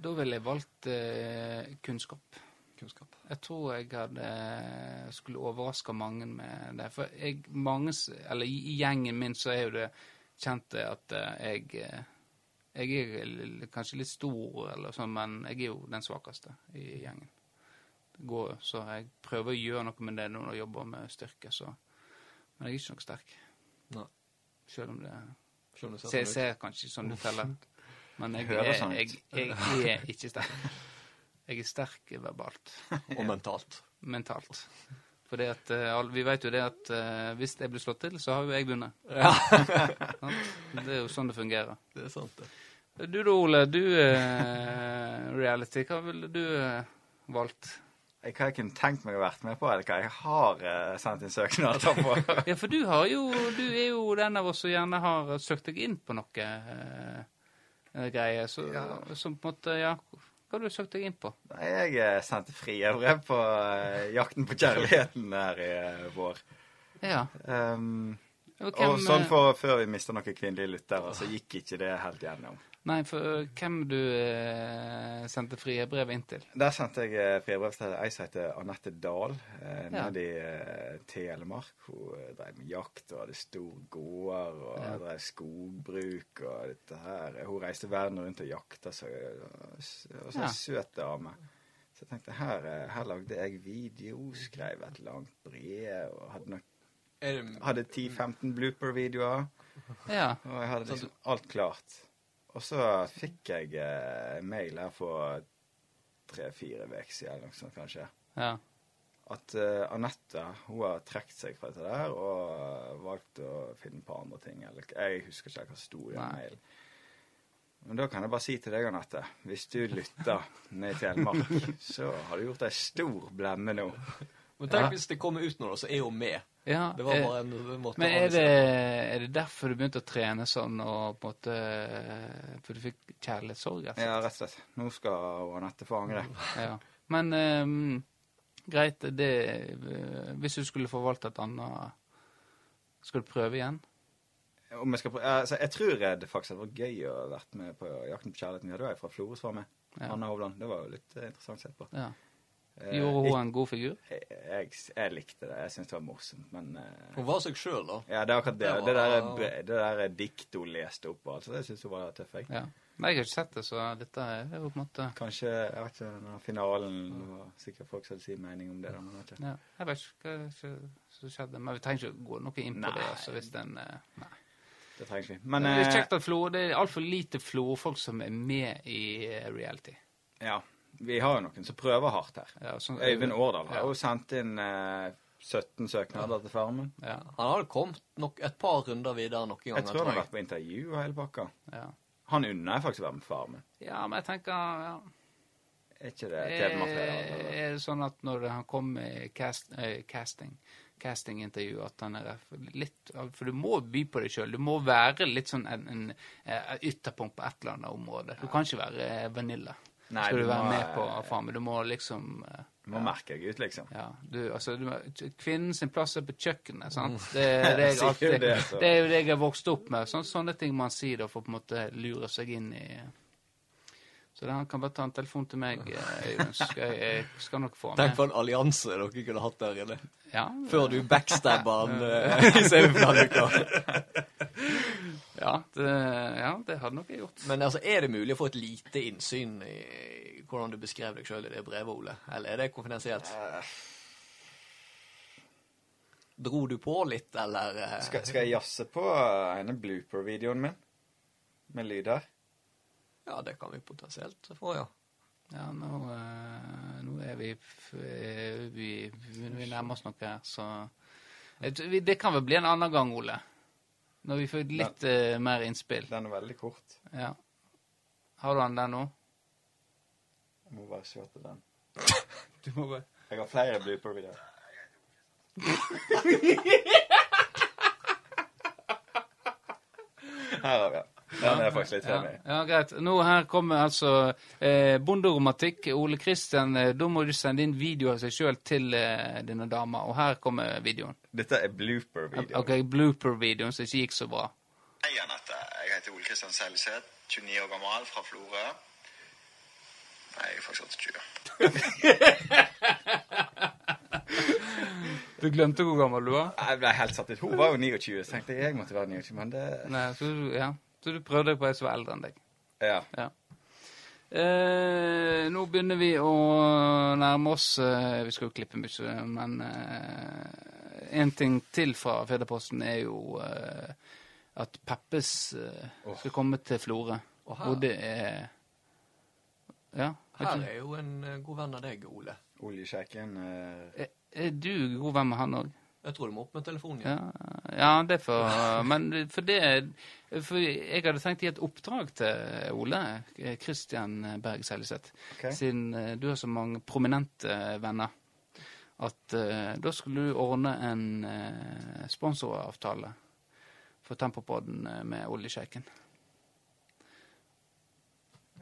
S1: Da ville jeg valgt eh, kunnskap.
S3: Kunnskap.
S1: Jeg tror jeg hadde skulle overraska mange med det. For jeg, mange, s- eller i i gjengen min så er jo det kjent det at eh, jeg eh, Jeg er l- kanskje litt stor, eller sånn, men jeg er jo den svakeste i gjengen. Det går, jo, så jeg prøver å gjøre noe med det når jeg jobber med styrke, så Men jeg er ikke noe sterk.
S3: Nei.
S1: Selv om det
S3: Selv om du ser
S1: Jeg
S3: sånn ut.
S1: ser kanskje sånn ut heller. Men jeg er,
S2: Hører sånn ut.
S1: jeg, jeg er ikke sterk. Jeg er sterk verbalt
S3: Og mentalt.
S1: mentalt. Fordi at eh, all- Vi vet jo det at eh, hvis jeg blir slått til, så har jo jeg vunnet.
S3: Ja,
S1: Sant? Det er jo sånn det fungerer.
S3: det er sant, det.
S1: Du da, Ole. Du eh, reality. Hva ville du eh, valgt?
S2: Jeg- Hva jeg kunne tenkt meg å vært med på, eller hva jeg har eh, sendt inn søknader <laughs> på.
S1: Ja, for du har jo Du er jo den av oss som gjerne har søkt deg inn på noe eh, eh, greier. Så, Som på en måte Ja, hva har du søkt deg inn på?
S2: Nei, Jeg eh, sendte frigjøret på eh, Jakten på kjærligheten her i eh, vår.
S1: Ja.
S2: Ehm,
S1: Og
S2: og
S1: hvem,
S2: sånn
S1: eh,
S2: for før vi mister noen kvinnelige lyttere, så gikk ikke det helt gjennom.
S1: Nei, for eh, hvem du eh, sendte frie brev inn til?
S2: Der sendte jeg eh, fribrev til ei som heter Anette Dahl, eh,
S1: Ja.
S2: nede i eh, Telemark. Hun eh, drev med jakt og hadde stor gård og
S1: Ja.
S2: drev skogbruk og dette her. Hun reiste verden rundt og jakta seg. eh, Og så
S1: Ja.
S2: altså, en søt dame. Så jeg tenkte her, eh, her lagde jeg video, skrev et langt brev og hadde, nok-
S3: Er det
S2: hadde 10-15 blooper-videoer.
S1: Ja.
S2: Og jeg hadde
S3: Sånn
S2: liksom alt klart. Og så fikk jeg eh, mail her for tre-fire uker siden, eller noe sånt kanskje,
S1: ja.
S2: at eh, Anette hun har trukket seg fra dette der og valgt å finne på andre ting. Eller, jeg husker ikke hva som sto i den
S1: Nei.
S2: mailen. Men da kan jeg bare si til deg, Anette, hvis du lytter ned i Telemark, så har du gjort ei stor blemme nå.
S3: Men tenk
S1: Ja.
S3: hvis det kommer ut nå, da, så er hun med.
S1: ja.
S3: Det var
S1: eh,
S3: bare en en måte
S1: Men
S3: å
S1: er det,
S3: analysere.
S1: er det derfor du begynte å trene sånn, og på en måte eh, For du fikk kjærlighetssorg, rett og
S2: Ja, rett og slett. Nå skal hun Anette få angre.
S1: slett? Ja. Men ehm, greit, det eh, Hvis du skulle forvalte et annet Skal du prøve igjen?
S2: Om jeg, skal prøve, altså, jeg tror det faktisk hadde vært gøy å vært med på Jakten på kjærligheten. Vi hadde jo ei fra Florø som var med.
S1: Ja.
S2: Anna Hovland. Det var jo litt eh, interessant sett på.
S1: Ja.
S2: Eh,
S1: Gjorde hun
S2: ikke-
S1: en god figur?
S2: jeg, jeg, jeg likte det. Jeg syntes det var morsomt, men eh,
S3: Hun var seg sjøl, da.
S2: Ja, det er akkurat det.
S3: Det var-
S2: Det der, bre- det der diktet hun leste opp og alt, så det syns hun var tøff. Jeg.
S1: Ja. Nei, jeg har ikke sett det, så dette er jo på en måte
S2: Kanskje jeg vet ikke, når finalen det var sikkert folk som hadde sin mening om det. da, men jeg vet ikke.
S1: ja. Jeg vet ikke hva som- som skjedde, men vi trenger ikke gå noe inn på det.
S2: Nei.
S1: Altså, hvis den, eh, nei.
S2: Det trenger ikke vi. Men
S1: det er
S2: eh,
S1: kjekt at Flo, det er altfor lite Flo-folk som er med i eh, reality.
S2: ja, vi har jo noen som prøver hardt her.
S1: Ja, sånn-
S2: Øyvind Årdal har
S1: Ja.
S2: jo sendt inn eh, 17 søknader til Farmen.
S1: Ja,
S3: Han hadde kommet nok et par runder videre noen ganger.
S2: Jeg tror han har vært på intervju og hele pakka.
S1: ja.
S2: Han unner jeg faktisk å være med Farmen.
S1: ja, men jeg tenker ja.
S2: Er altså. ikke det
S1: Eh,
S2: TV-materiale?
S1: Er
S2: eller?
S1: er det sånn at når han kom med cast, eh, casting castingintervju, at han er ref- litt For du må by på deg sjøl. Du må være litt sånn en, en, eh, ytterpunkt på et eller annet område. Du kan ikke være eh, vanilla.
S2: Nei,
S1: Skal du
S2: du
S1: være
S2: må,
S1: med på
S2: eh,
S1: Farmen. Du må liksom eh,
S2: Nå merker jeg ut, liksom.
S1: Ja, du, altså, du, kvinnen sin plass er på kjøkkenet, sant? Det
S2: <laughs>
S1: er, det jeg
S2: Jeg Mm. sier jo
S1: alltid,
S2: det, altså.
S1: det er jo det jeg har vokst opp med. Sånn, sånne ting man sier da, for å på en måte lure seg inn i Så det, han kan bare ta en telefon til meg, eh, Øyvind. så Skal jeg, jeg skal nok få
S3: Tenk
S1: med.
S3: for en allianse dere kunne hatt der inne.
S1: Ja,
S3: Før du backstabber han eh, <laughs> i semifinalen. uka.
S1: ja, det, ja, det hadde nok jeg gjort.
S3: Men altså, er det mulig å få et lite innsyn i hvordan du beskrev deg sjøl i det brevet, Ole? Eller er det konfidensielt? Dro du på litt, eller eh,
S2: Skal, skal jeg jazze på eh, ene blooper-videoen min? Med lyd her?
S3: Ja, det kan vi potensielt få, ja.
S1: Ja, nå, eh, nå er vi, f- eh, vi Vi nærmer oss noe her, så Jeg tror vi- Det kan vel bli en annen gang, Ole. Når vi får litt eh, mer innspill.
S2: Den er veldig kort.
S1: Ja. Har du den der nå?
S2: Jeg må bare se til den.
S1: Du må bare
S2: Jeg har flere <laughs> blooper-videoer. Her har vi den. Den er jeg faktisk litt
S1: ja,
S2: enig i.
S1: ja, greit. Nå her kommer altså eh, Bonderomantikk. Ole Kristian, eh, da må du sende inn video av seg sjøl til eh, denne dama. Og her kommer videoen.
S2: Dette er blooper-videoen.
S1: Ok, Blooper-videoen som ikke gikk så bra.
S6: Hei, Anette. Jeg heter Ole Kristian Selseth, 29 år gammel, fra Florø. Nei, jeg er faktisk 28.
S1: Du glemte hvor gammel du var?
S2: Jeg ble helt satt ut. Hun var jo 29, så tenkte jeg jeg måtte være 29, men det
S1: Nei, så, du- ja. så du prøvde deg på ei som var eldre enn deg.
S2: Ja.
S1: Ja. Eh, nå begynner vi å nærme oss eh, Vi skal jo klippe mye, men eh, en ting til fra Fedreposten er jo eh, at Peppes eh, skal komme til Florø.
S3: Og her-
S1: Og det er Ja.
S3: Her er jo en eh, god venn av deg, Ole.
S2: Oljesjekken eh,
S1: Er, er du god venn med han òg?
S3: Jeg tror du må opp med telefonen igjen.
S1: Ja, ja, det får Men for det For jeg hadde tenkt å gi et oppdrag til Ole Kristian Berg Seljeseth.
S2: Ok.
S1: Siden eh, du har så mange prominente eh, venner. At eh, da skulle du ordne en eh, sponsoravtale for Tempopodden eh, med Oljesjeiken.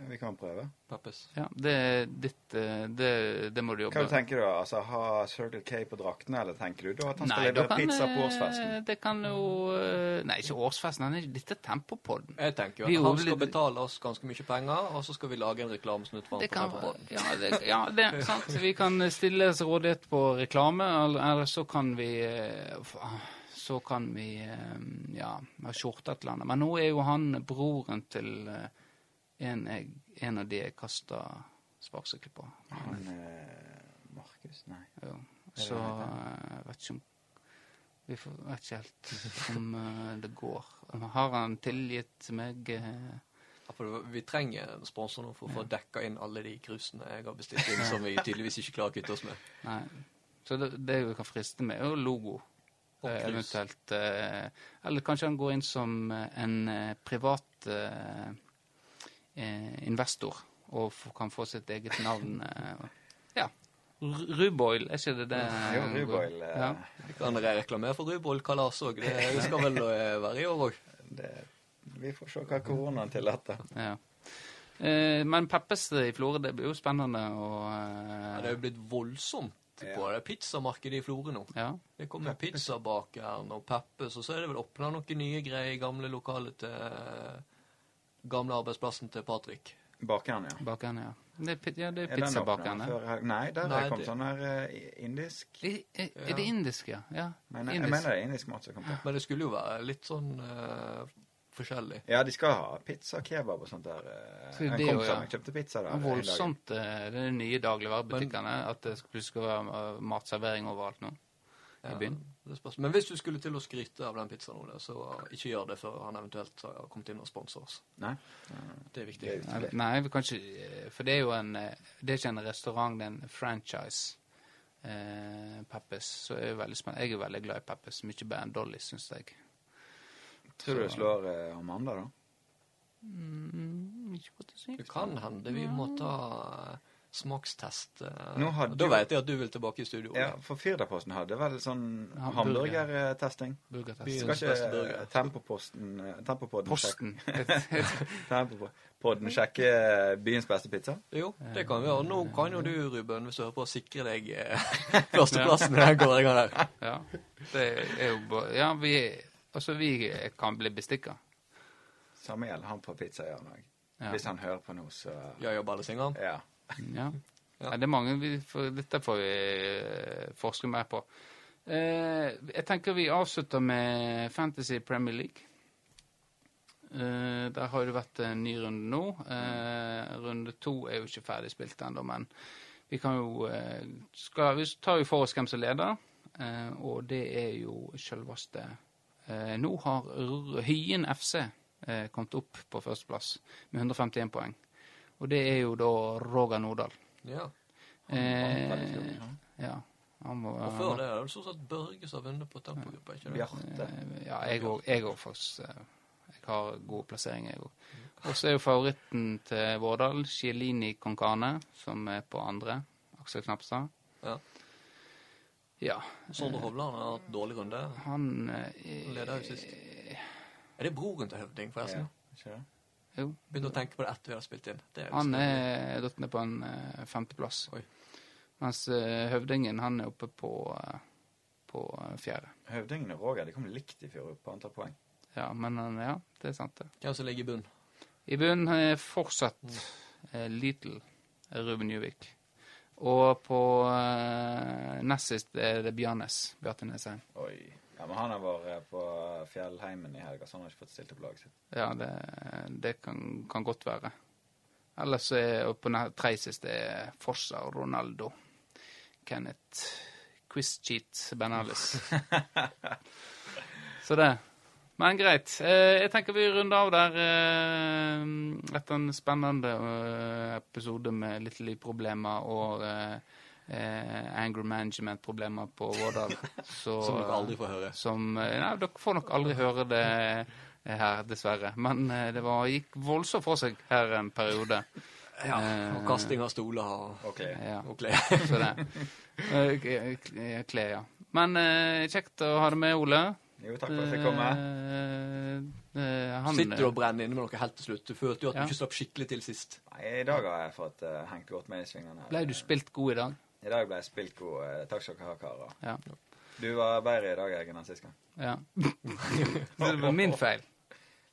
S2: Vi kan prøve.
S3: Peppes.
S1: Ja, det er ditt eh, det, det må du
S2: Hva
S1: jobbe
S2: du tenker du da? Altså, Ha Circle K på draktene, eller tenker du da at han skal
S1: Nei, da
S2: levere
S1: kan,
S2: pizza på
S1: eh,
S2: årsfesten?
S1: Det kan jo eh, Nei, ikke årsfesten. Han er, dette er Tempopodden.
S3: Jeg tenker
S1: Vi
S3: jo at han
S1: overlever-
S3: skal betale oss ganske mye penger, og så skal vi lage en reklamesnutt for
S1: Det
S3: han på
S1: kan,
S3: Tempobåten.
S1: ja, det, ja, det er sant. Vi kan stille oss rådighet på reklame, eller, eller så kan vi eh, fa- Så kan vi eh, ja, ha skjorte et eller annet. Men nå er jo han broren til eh, en, jeg, en av de jeg kasta sparkesykkel på.
S2: Han eh, Markus? Nei.
S1: Jo. Så eh, vet ikke om Vi får, vet ikke helt om eh, det går. Har han tilgitt meg eh,
S3: Ja, for vi trenger en sponsor nå for å få dekka inn alle de krusene jeg har bestilt inn, som vi tydeligvis ikke klarer å kvitte oss med.
S1: Nei. Så det, det vi kan friste med, er jo logo.
S3: Og
S1: Eh,
S3: krus.
S1: eventuelt. Eh, eller kanskje han går inn som eh, en eh, privat eh, eh, investor og f kan få sitt eget navn. Eh, ja. Mm, R- Ruboil, er ikke det det?
S2: Jo, Ruboil. eh,
S1: Ja.
S3: Vi kan reklamere for Ruboll Kalas òg.
S1: <laughs>
S3: Det skal vel eh, være i år òg.
S2: Det, vi får se hva koronaen tillater.
S1: ja. Eh, men Peppes i Florø, det blir jo spennende å
S3: Ja,
S1: eh,
S3: det er jo blitt voldsomt på det pizzamarkedet i Florø nå.
S1: ja.
S3: Det kommer pizzabakeren og Peppes, og så er det vel åpna noen nye greier i gamle lokalet til Gamle arbeidsplassen til Patrick.
S2: Bakeren, ja.
S1: Bakerne, ja. Det er, pi- ja, det
S2: Er
S1: er
S2: den åpnet
S1: pizzabakerne.
S2: før her? Nei, der
S3: Nei,
S2: har kom
S3: det-
S2: sånn her eh, indisk
S1: I- i- Er det indisk, ja? eh, ja.
S2: Nei, nei, jeg
S1: indisk.
S2: mener det er indisk mat som kom på.
S3: Men det skulle jo være litt sånn eh, forskjellig.
S2: Ja, de skal ha pizza, kebab og sånt der. eh,
S1: Så det
S2: En
S1: er jo,
S2: kompis
S1: ja.
S2: av meg kjøpte pizza der.
S1: Ja,
S2: en dag.
S1: voldsomt, eh, det er de nye dagligvarebutikkene. At det skal- plutselig skal være eh, matservering overalt nå i byen.
S3: Det spørs. Men hvis du skulle til å skryte av den pizzaen, Ole, så ikke gjør det før han eventuelt har kommet inn og sponset oss.
S2: Nei.
S3: Det er viktig.
S2: Det er jo-
S1: Nei, Nei, vi kan ikke eh, For det er jo en eh, Det er ikke en restaurant, det er en franchise. Eh, Peppes. Så jeg er jo veldig spennende. Jeg er veldig glad i Peppes. Mye bedre enn Dolly, syns jeg.
S2: Tror du det slår eh, Amanda, da?
S1: Mm, Ikke godt å si.
S3: Det kan hende vi må ta eh, smakstest. eh,
S2: Nå har
S3: og
S2: du-
S3: Da vet jeg at du vil tilbake i studio.
S2: Ja,
S3: Olav.
S2: for Firdaposten hadde vel sånn
S1: Ja, burger.
S2: hamburgertesting.
S1: Burgertest.
S3: Byens
S2: Skal
S3: beste
S2: ikke
S3: burger.
S2: eh, Tempoposten eh, Tempopodden sjekke-
S1: Posten. <laughs> Et-
S2: Tempopodden sjekke eh, byens beste pizza?
S3: Jo, det kan vi gjøre. Nå kan jo du, Ruben, hvis du hører på, sikre deg eh, <laughs> førsteplassen i den kåringa der.
S1: Ja. Det er jo bare Ja, vi Altså, vi kan bli bestikka.
S2: Samme gjelder han på pizzahjørnet òg.
S1: Ja.
S2: Hvis han hører på nå, så
S3: Jeg jobber alle singene.
S2: Ja.
S1: Ja.
S3: Ja.
S1: Er det mange vi får, Dette får vi eh, forske mer på. Eh, jeg tenker vi avslutter med Fantasy Premier League. Eh, der har det vært en ny runde nå. Eh, runde to er jo ikke ferdig spilt ennå, men vi kan jo eh, skal, Vi tar jo for oss hvem som leder, eh, og det er jo selveste eh, Nå har R- Hyen FC eh, kommet opp på førsteplass med 151 poeng. Og det er jo da Roger Nordahl.
S3: Ja.
S1: Eh, ja. Han må,
S3: liksom? Og
S1: han
S3: før
S1: må,
S3: det er det stort sett Børge som har vunnet på tempogruppa, ikke det?
S2: Bjarte.
S1: ja, jeg òg, jeg òg faktisk. eh, Jeg har gode plasseringer, jeg òg.
S3: Mm.
S1: Og så er jo favoritten til Vårdal Chiellini Concane, som er på andre. Aksel Knapstad.
S3: Ja.
S1: Ja.
S3: Sondre Hovland har hatt dårlig runde.
S1: Han eh,
S3: Han leder jo sist. Er det broren til Høvding, forresten?
S2: Ja, ikke det?
S1: Jo.
S3: Begynte å tenke på det etter vi hadde spilt inn. Det er litt
S1: Han
S3: spennende.
S1: er datt ned på en eh, femteplass.
S3: Oi.
S1: Mens eh, Høvdingen, han er oppe på, eh, på eh, fjerde.
S2: Høvdingen og Roger de kom likt i fjor på antall poeng.
S1: Ja, men han- ja, det er sant, det.
S3: Hvem som ligger i bunnen?
S1: I bunnen er fortsatt eh, Little Ruben Juvik. Og på eh, nest sist er det Bjarnes. Bjarte Nesheim.
S2: Oi. Ja, Men han har vært på fjellheimen i helga, så han har ikke fått stilt opp laget sitt.
S1: Ja, det, det kan, kan godt være. Ellers er og på ne- tredje sist er Forsa og Ronaldo. Kenneth Quiz-cheat Benales. Så det. Men greit. Eh, Jeg tenker vi runder av der eh, etter en spennende eh, episode med litt livproblemer og eh, eh, angry management-problemer på Vårdal. Så-
S3: Som dere aldri får høre.
S1: som eh, Nei, dere får nok aldri høre det eh, her, dessverre. Men eh, det var, gikk voldsomt for seg her en periode.
S3: Ja,
S1: Eh,
S3: og kasting av stoler og,
S2: Ok.
S1: Ja,
S3: og klær.
S1: så det. Eh, k- k- Kle, ja. Men eh, kjekt å ha deg med, Ole.
S2: Jo, takk for at jeg fikk komme.
S1: Eh, eh, han,
S3: <laughs> Sitter du og brenner inne med noe helt til slutt? Du følte jo at
S1: Ja.
S3: du ikke slapp skikkelig til sist.
S2: Nei, I dag har jeg fått eh, hengt godt med i svingene.
S1: Ble du spilt god i dag?
S2: I dag ble jeg spilt god. eh, takk skal dere ha, karer.
S1: Ja.
S2: Du var bedre i dag, Eggen, enn sist gang.
S1: ja. Så det var min feil.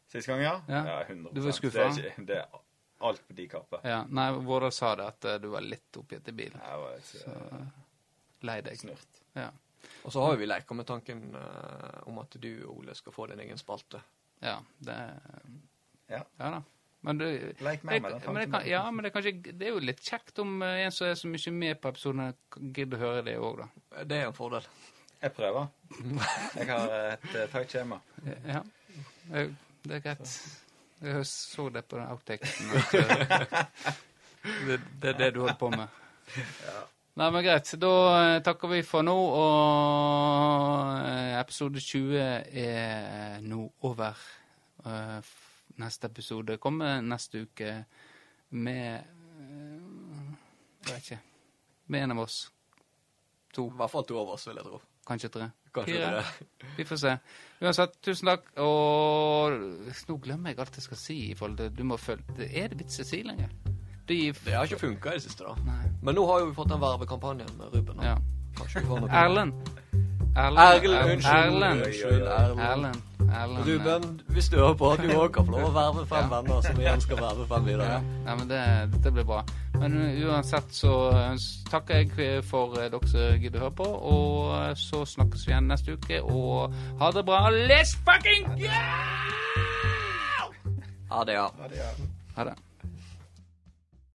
S2: Sist gang, ja?
S1: Ja.
S2: ja 100
S1: Du var skuffa?
S2: Det er, ikke, det er alt på de kapper.
S1: Ja. Nei, Vårdal sa det, at eh, du var litt oppgitt i bilen.
S2: Jeg var litt eh,
S1: Lei deg.
S2: snurt.
S1: Ja.
S3: Og så har jo vi leka med tanken eh, om at du, Ole, skal få din egen spalte.
S1: ja det
S2: Ja.
S1: Ja da. Men du
S2: Leik med
S1: Jeg-
S2: meg den
S1: men det
S2: tanken.
S1: kan, ja, men det, er kanskje, det er jo litt kjekt om eh, en som er så mye med på episodene, kan gidder å høre det òg, da.
S3: Det er en fordel.
S2: Jeg <laughs> prøver. Jeg har et uh, tight skjema.
S1: Ja. Eh, Det er greit. Jeg så det på den outtakesen. at, eh, Det, det er det du holder på med. Nei, men greit. Da eh, takker vi for nå, og eh, episode 20 er nå over. Eh, f- Neste episode kommer neste uke med eh, Jeg vet ikke. Med en av oss.
S3: I hvert fall to av oss, vil jeg tro.
S1: Kanskje tre.
S3: Kanskje
S1: Fire.
S3: det.
S1: Vi får se. Uansett, tusen takk. Og nå glemmer jeg alt jeg skal si. i forhold til Du må følge det Er det vits i å si lenger? Det gir
S3: Det har ikke funka i det siste, da.
S1: Nei.
S3: Men nå har jo vi fått den vervekampanjen med Ruben. da.
S1: Ja.
S3: Kanskje vi får noe
S1: Erlend.
S3: Erlend,
S1: Er-
S3: unnskyld.
S1: Erlend.
S3: Unnskyld, Erlend.
S1: Erlend. Erlend.
S3: Ruben, hvis du hører på, du òg kan få lov å verve fem venner som igjen skal verve fem
S1: Ja.
S3: videre.
S1: Nei, men det, dette blir bra. Men uansett så eh, takker jeg for eh, dere som gidder å høre på, og eh, så snakkes vi igjen neste uke, og ha det bra. Let's fucking go!
S3: Ha det, ja.
S2: Ja, det er.
S1: Ha det.